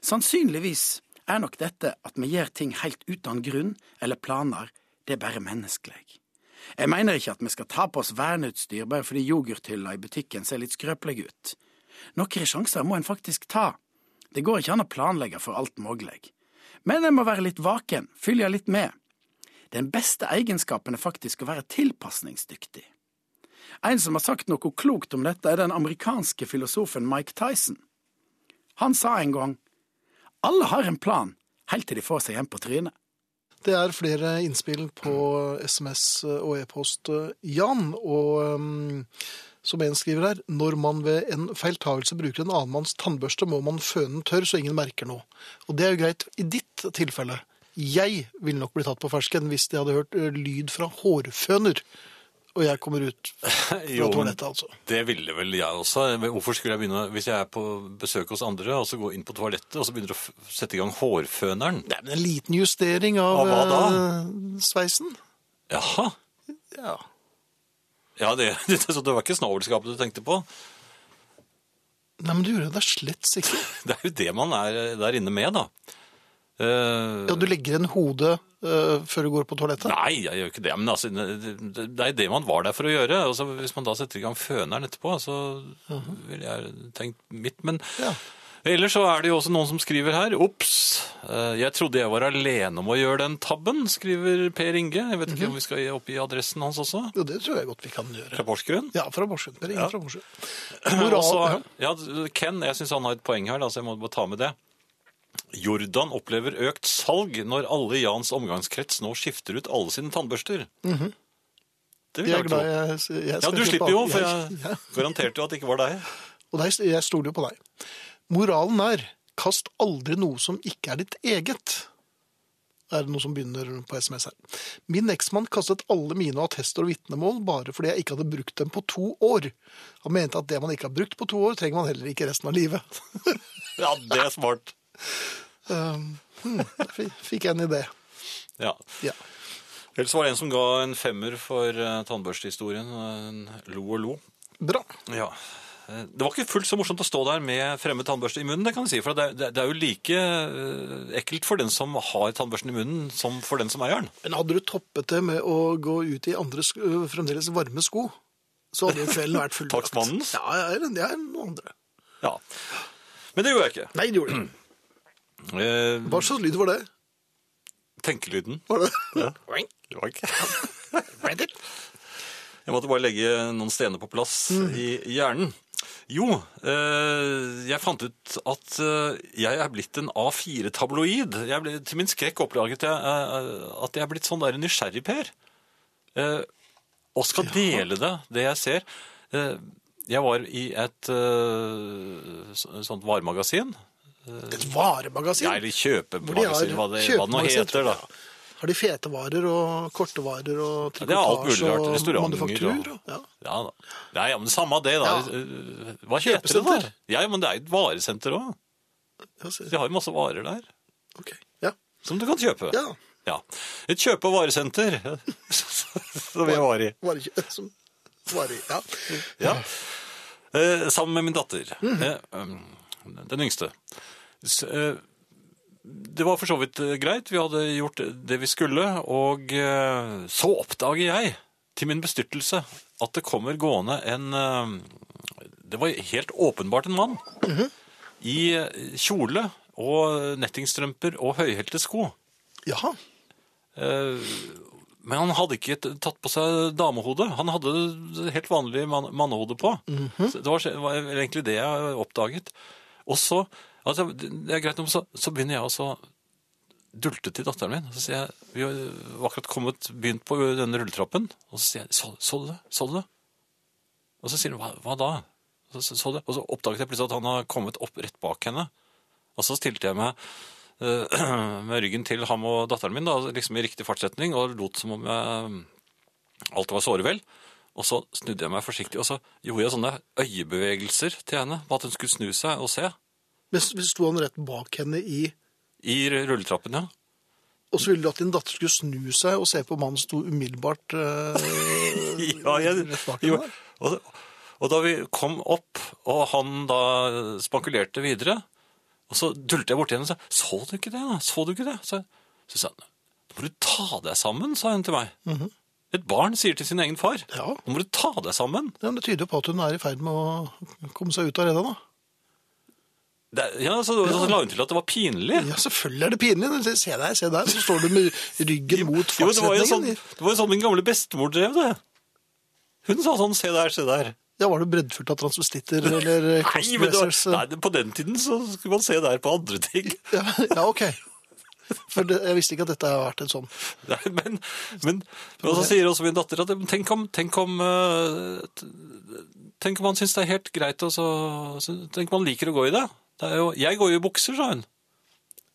Speaker 4: Sannsynligvis er nok dette at vi gjør ting helt uten grunn eller planer, det er bare menneskelig. Jeg mener ikke at vi skal ta på oss verneutstyr bare fordi yoghurthylla i butikken ser litt skrøpelig ut. Noen sjanser må en faktisk ta. Det går ikke an å planlegge for alt mulig. Men en må være litt vaken, følge litt med. Den beste egenskapen er faktisk å være tilpasningsdyktig. En som har sagt noe klokt om dette, er den amerikanske filosofen Mike Tyson. Han sa en gang alle har en plan helt til de får seg en på trynet.
Speaker 1: Det er flere innspill på SMS og e-post, Jan. Og um, som en skriver her, når man ved en feiltagelse bruker en annen manns tannbørste, må man føne den tørr så ingen merker noe. Og det er jo greit i ditt tilfelle. Jeg ville nok bli tatt på fersken hvis de hadde hørt ø, lyd fra hårføner, og jeg kommer ut fra
Speaker 2: Jo, men-
Speaker 1: toalettet, altså.
Speaker 2: Det ville vel jeg også. Hvorfor skulle jeg begynne, hvis jeg er på besøk hos andre, og så gå inn på toalettet, og så begynner du å f- sette i gang hårføneren?
Speaker 1: Nei, men en liten justering av,
Speaker 2: Av hva da?
Speaker 1: ø, sveisen.
Speaker 2: Jaha.
Speaker 1: Ja.
Speaker 2: Ja, det, det, så det var ikke snabelskapet du tenkte på.
Speaker 1: Nei, men du gjorde det slett ikke.
Speaker 2: Det er jo det man er der inne med, da. Eh,
Speaker 1: Ja, du legger en hode ø, før du går på toalettet.
Speaker 2: Nei, jeg gjør ikke det. Men altså, det, det- det er det man var der for å gjøre. Altså, hvis man da setter i gang føneren etterpå, så ville jeg tenkt mitt. Men
Speaker 1: Ja.
Speaker 2: ellers så er det jo også noen som skriver her. Ops! eh, Jeg trodde jeg var alene om å gjøre den tabben, skriver Per Inge. Jeg vet ikke om vi skal oppgi adressen hans også.
Speaker 1: Jo, det tror jeg godt vi kan
Speaker 2: Fra
Speaker 1: gjøre.
Speaker 2: Porsgrunn.
Speaker 1: Ja, fra Borsund. Per Inge
Speaker 2: Ja.
Speaker 1: fra Borsund.
Speaker 2: Og
Speaker 1: Moral,
Speaker 2: så- Ja, Ken, jeg syns han har et poeng her, da, så jeg må bare ta med det. Jordan opplever økt salg når alle i Jans omgangskrets nå skifter ut alle sine tannbørster. Det
Speaker 1: jeg Mhm. er
Speaker 2: vil jeg tro.
Speaker 1: glad jeg, jeg
Speaker 2: Ja,
Speaker 1: skal
Speaker 2: du
Speaker 1: slippe
Speaker 2: slipper
Speaker 1: av.
Speaker 2: jo, for jeg garanterte jo at det ikke var deg.
Speaker 1: Og der, jeg stoler jo på deg. Moralen er kast aldri noe som ikke er ditt eget. Det er noe som begynner på SMS her. Min eksmann kastet alle mine attester og vitnemål bare fordi jeg ikke hadde brukt dem på to år. Han mente at det man ikke har brukt på to år, trenger man heller ikke resten av livet.
Speaker 2: Ja, det er smart.
Speaker 1: Um, hmm, der fi- fikk jeg en idé.
Speaker 2: Ja.
Speaker 1: Ja.
Speaker 2: Ellers var det en som ga en femmer for eh, tannbørstehistorien. En lo og lo.
Speaker 1: Bra.
Speaker 2: Ja. Eh, Det var ikke fullt så morsomt å stå der med fremmed tannbørste i munnen, det kan jeg si. For det er, det er jo like eh, ekkelt for den som har tannbørsten i munnen, som for den som eier den.
Speaker 1: Men hadde du toppet det med å gå ut i andre sk- ø, fremdeles varme sko, så hadde jo kvelden vært fullbrakt.
Speaker 2: Takstmannens?
Speaker 1: Ja, ja, eller det er noen andre.
Speaker 2: Ja. Men det gjorde jeg ikke.
Speaker 1: Nei, det gjorde du ikke.
Speaker 2: Eh,
Speaker 1: Hva slags lyd var det?
Speaker 2: tenkelyden.
Speaker 1: Var det?
Speaker 2: Det var ikke. Jeg måtte bare legge noen stener på plass
Speaker 1: Mm.
Speaker 2: i hjernen. Jo, eh, jeg fant ut at eh, jeg er blitt en A4-tabloid. Jeg ble, til min skrekk oppdaget jeg eh, at jeg er blitt sånn der nysgjerrig, Per. Eh, og skal dele det, det jeg ser. Eh, jeg var i et eh, så- sånt varemagasin.
Speaker 1: Et varemagasin?
Speaker 2: Ja,
Speaker 1: Hvor de
Speaker 2: eller
Speaker 1: har
Speaker 2: kjøpemagasin, hva det, hva det nå
Speaker 1: kjøpemagasin,
Speaker 2: heter. da.
Speaker 1: tror jeg. Har de fetevarer og kortevarer og
Speaker 2: Ja, det er alt mulig
Speaker 1: trikotasje
Speaker 2: rart.
Speaker 1: og
Speaker 2: Restauranter
Speaker 1: manufaktur?
Speaker 2: og-
Speaker 1: Og, ja.
Speaker 2: Ja, da. Nei, ja, men samme av det, da.
Speaker 1: Ja.
Speaker 2: Eh, Hva heter det
Speaker 1: Kjøpesenter.
Speaker 2: der? Ja, men det er jo et varesenter òg.
Speaker 1: Ja, så-
Speaker 2: De har jo masse varer der
Speaker 1: ok. ja.
Speaker 2: som du kan kjøpe.
Speaker 1: Ja.
Speaker 2: Et kjøpe- og varesenter eh, som jeg var i.
Speaker 1: Var det ikke som varer? Ja.
Speaker 2: Ja. Eh, sammen med min datter. Eh, um, den yngste. S eh, det var for så vidt eh, greit. Vi hadde gjort det vi skulle, og eh, så oppdager jeg, til min bestyrtelse, at det kommer gående en eh, Det var helt åpenbart en mann. I eh, kjole og nettingstrømper og høyhælte sko.
Speaker 1: Jaha.
Speaker 2: Eh, Men han hadde ikke t- tatt på seg damehode. Han hadde det helt vanlig man mannehode på. Så Det var, det var egentlig det jeg oppdaget. Og så, altså, det er greit om, så, så begynner jeg også å dulte til datteren min. Så sier jeg, vi var akkurat kommet, begynt på denne rulletrappen, og så sier jeg, så, så du det? Så du det? Og så sier hun, hva, hva da? Så, så, så det. Og så oppdaget jeg plutselig at han har kommet opp rett bak henne. Og så stilte jeg meg eh, med ryggen til ham og datteren min, da, liksom i riktig fartsretning, og lot som om jeg, eh, alt var såre vel. Og så snudde jeg meg forsiktig, og så gjorde jeg sånne øyebevegelser til henne, på at hun skulle snu seg og se.
Speaker 1: Men så sto han rett bak henne i
Speaker 2: I rulletrappen, ja.
Speaker 1: Og så ville du at din datter skulle snu seg og se på mannen som sto umiddelbart eh,
Speaker 2: ja, jeg,
Speaker 1: rett bak
Speaker 2: jo,
Speaker 1: henne?
Speaker 2: og, og da vi kom opp, og han da spankulerte videre, og så dulte jeg borti henne og sa, så du ikke det da? Så du ikke det? Så, så sa han, nå må du ta deg sammen, sa hun til meg. Et barn sier til sin egen far,
Speaker 1: Mhm. Ja.
Speaker 2: nå må du ta deg sammen.
Speaker 1: Ja, men Det tyder jo på at hun er i ferd med å komme seg ut av redet, da.
Speaker 2: Det, er- ja, så, så la hun til at det var pinlig.
Speaker 1: Ja, selvfølgelig er det pinlig. Se der, se der. Så står du med ryggen mot
Speaker 2: Jo, det var jo sånn,
Speaker 1: fartsretningen.
Speaker 2: det var jo sånn min gamle bestemor drev det. Hun sa sånn, se der, se der.
Speaker 1: Ja, var det breddfullt av transvestitter eller
Speaker 2: Nei, men det var,
Speaker 1: crossdressers?
Speaker 2: nei, på den tiden så skulle man se der på andre ting.
Speaker 1: Ja, ja, ok. For det, jeg visste ikke at dette har vært en sånn
Speaker 2: Nei, men, men, men så sier også min datter at tenk om, tenk om, eh, t- tenk om han syns det er helt greit, og så, så tenk om han liker å gå i det. det er jo, jeg går jo i bukser, sa hun.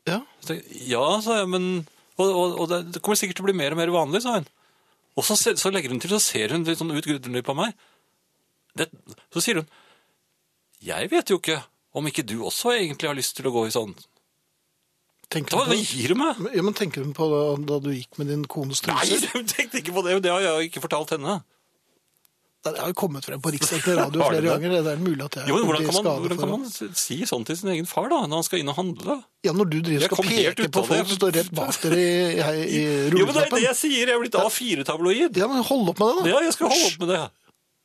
Speaker 1: Ja,
Speaker 2: Så tenk- Ja, sa jeg, men Og, og, og det, det kommer sikkert til å bli mer og mer vanlig, sa hun. Og så, se- så legger hun til, så ser hun litt sånn utgudelig på meg. Det, så sier hun Jeg vet jo ikke om ikke du også egentlig har lyst til å gå i sånn.
Speaker 1: tenker
Speaker 2: Da,
Speaker 1: du på,
Speaker 2: hva gir du meg?
Speaker 1: ja, men tenker hun på da, da du gikk med din kones
Speaker 2: Nei,
Speaker 1: truser?
Speaker 2: hun tenkte ikke på det, og det har jeg jo ikke fortalt henne.
Speaker 1: Det har jo kommet frem på riksdekkende radio
Speaker 2: Har det
Speaker 1: flere
Speaker 2: det?
Speaker 1: ganger. Det er mulig at jeg
Speaker 2: Jo, men hvordan
Speaker 1: blir
Speaker 2: kan, man,
Speaker 1: skadet
Speaker 2: hvordan
Speaker 1: for
Speaker 2: kan
Speaker 1: det.
Speaker 2: man si sånn til sin egen far da, når han skal inn og handle?
Speaker 1: Ja, når du driver
Speaker 2: Jeg
Speaker 1: og
Speaker 2: kom
Speaker 1: skal
Speaker 2: helt
Speaker 1: peke på
Speaker 2: ut av det.
Speaker 1: folk som står rett bak dere i, i, i
Speaker 2: Jo, men det er det
Speaker 1: rulleknappen.
Speaker 2: jeg sier, jeg er blitt A4-tabloid.
Speaker 1: Ja, men hold opp med det, da.
Speaker 2: Ja, jeg skal holde opp med det.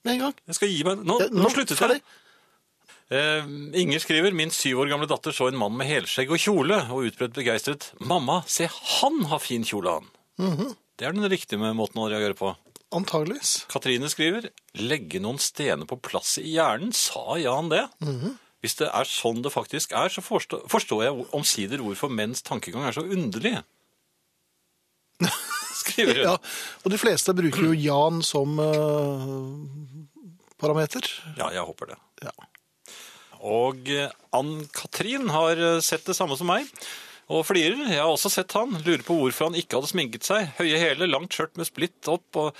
Speaker 1: Med en gang.
Speaker 2: Jeg skal gi meg. Nå,
Speaker 1: Ja,
Speaker 2: nå sluttet
Speaker 1: ferdig.
Speaker 2: jeg. Eh, Inger skriver, min syv år gamle datter så en mann med helskjegg og kjole, og utbredt begeistret. Mamma, se han har fin kjole han.
Speaker 1: Mhm.
Speaker 2: Det er den riktige med måten å reagere på.
Speaker 1: Antageligvis.
Speaker 2: Katrine skriver, legge noen stener på plass i hjernen, sa Jan det? Hvis det er sånn det faktisk er, så forstår, forstår jeg hvor- omsider hvorfor menns tankegang er så underlig. Skriver hun.
Speaker 1: Ja, og de fleste bruker jo Jan som eh, parameter.
Speaker 2: Ja, jeg håper det.
Speaker 1: Ja.
Speaker 2: Og eh, Ann-Katrin har eh, sett det samme som meg. Og flirer. Jeg har også sett han. Lurer på hvorfor han ikke hadde sminket seg. Høye hæler, langt skjørt med splitt opp, og,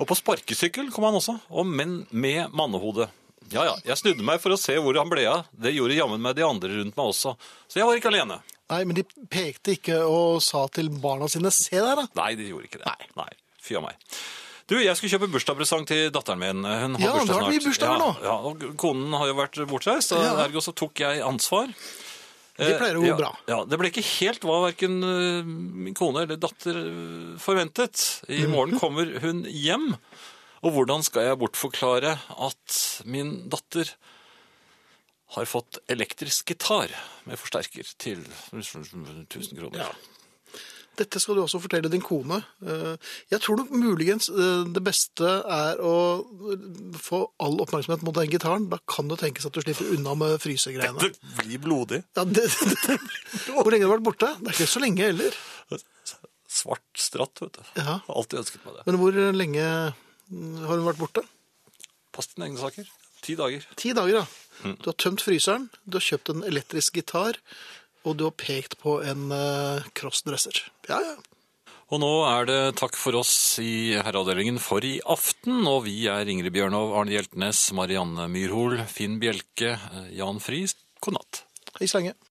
Speaker 2: og på sparkesykkel kom han også. Og menn med mannehode. Ja ja, jeg snudde meg for å se hvor han ble av. Det gjorde jammen meg de andre rundt meg også. Så jeg var ikke alene.
Speaker 1: Nei, men de pekte ikke og sa til barna sine, se der da.
Speaker 2: Nei, de gjorde ikke det. Nei. Fy av meg. Du, jeg skulle kjøpe bursdagspresang til datteren min. Hun har
Speaker 1: Ja,
Speaker 2: bursdag
Speaker 1: det har vært mye
Speaker 2: snart.
Speaker 1: bursdager
Speaker 2: ja,
Speaker 1: nå.
Speaker 2: Ja, og konen har jo vært bortreist, og
Speaker 1: Ja.
Speaker 2: ergo så tok jeg ansvar. Eh,
Speaker 1: Det pleier å gå
Speaker 2: ja,
Speaker 1: bra.
Speaker 2: Ja, Det ble ikke helt hva verken eh, min kone eller datter eh, forventet.
Speaker 1: Mhm.
Speaker 2: I morgen kommer hun hjem, og hvordan skal jeg bortforklare at min datter har fått elektrisk gitar med forsterker til 1000 kroner?
Speaker 1: Dette skal du også fortelle din kone. Eh, Jeg tror nok muligens eh, det beste er å eh, få all oppmerksomhet mot den gitaren. Da kan det tenkes at du slipper unna med frysegreiene.
Speaker 2: Det blir blodig.
Speaker 1: Ja, det, det, det. Hvor lenge har du vært borte? Det er ikke så lenge heller.
Speaker 2: Svart stratt, vet du.
Speaker 1: Ja.
Speaker 2: Har Alltid ønsket meg det.
Speaker 1: Men hvor lenge mm, har hun vært borte?
Speaker 2: Pass dine egne saker. Ti dager.
Speaker 1: Ti dager, ja. Du har tømt fryseren, du har kjøpt en elektrisk gitar, og du har pekt på en eh, crossdresser. Ja, ja.
Speaker 2: Og nå er det takk for oss i Herreavdelingen for i aften. Og vi er Ingrid Bjørnov, Arne Hjeltnes, Marianne Myrhol, Finn Bjelke, eh, Jan Friis. God natt.
Speaker 1: Hei så lenge.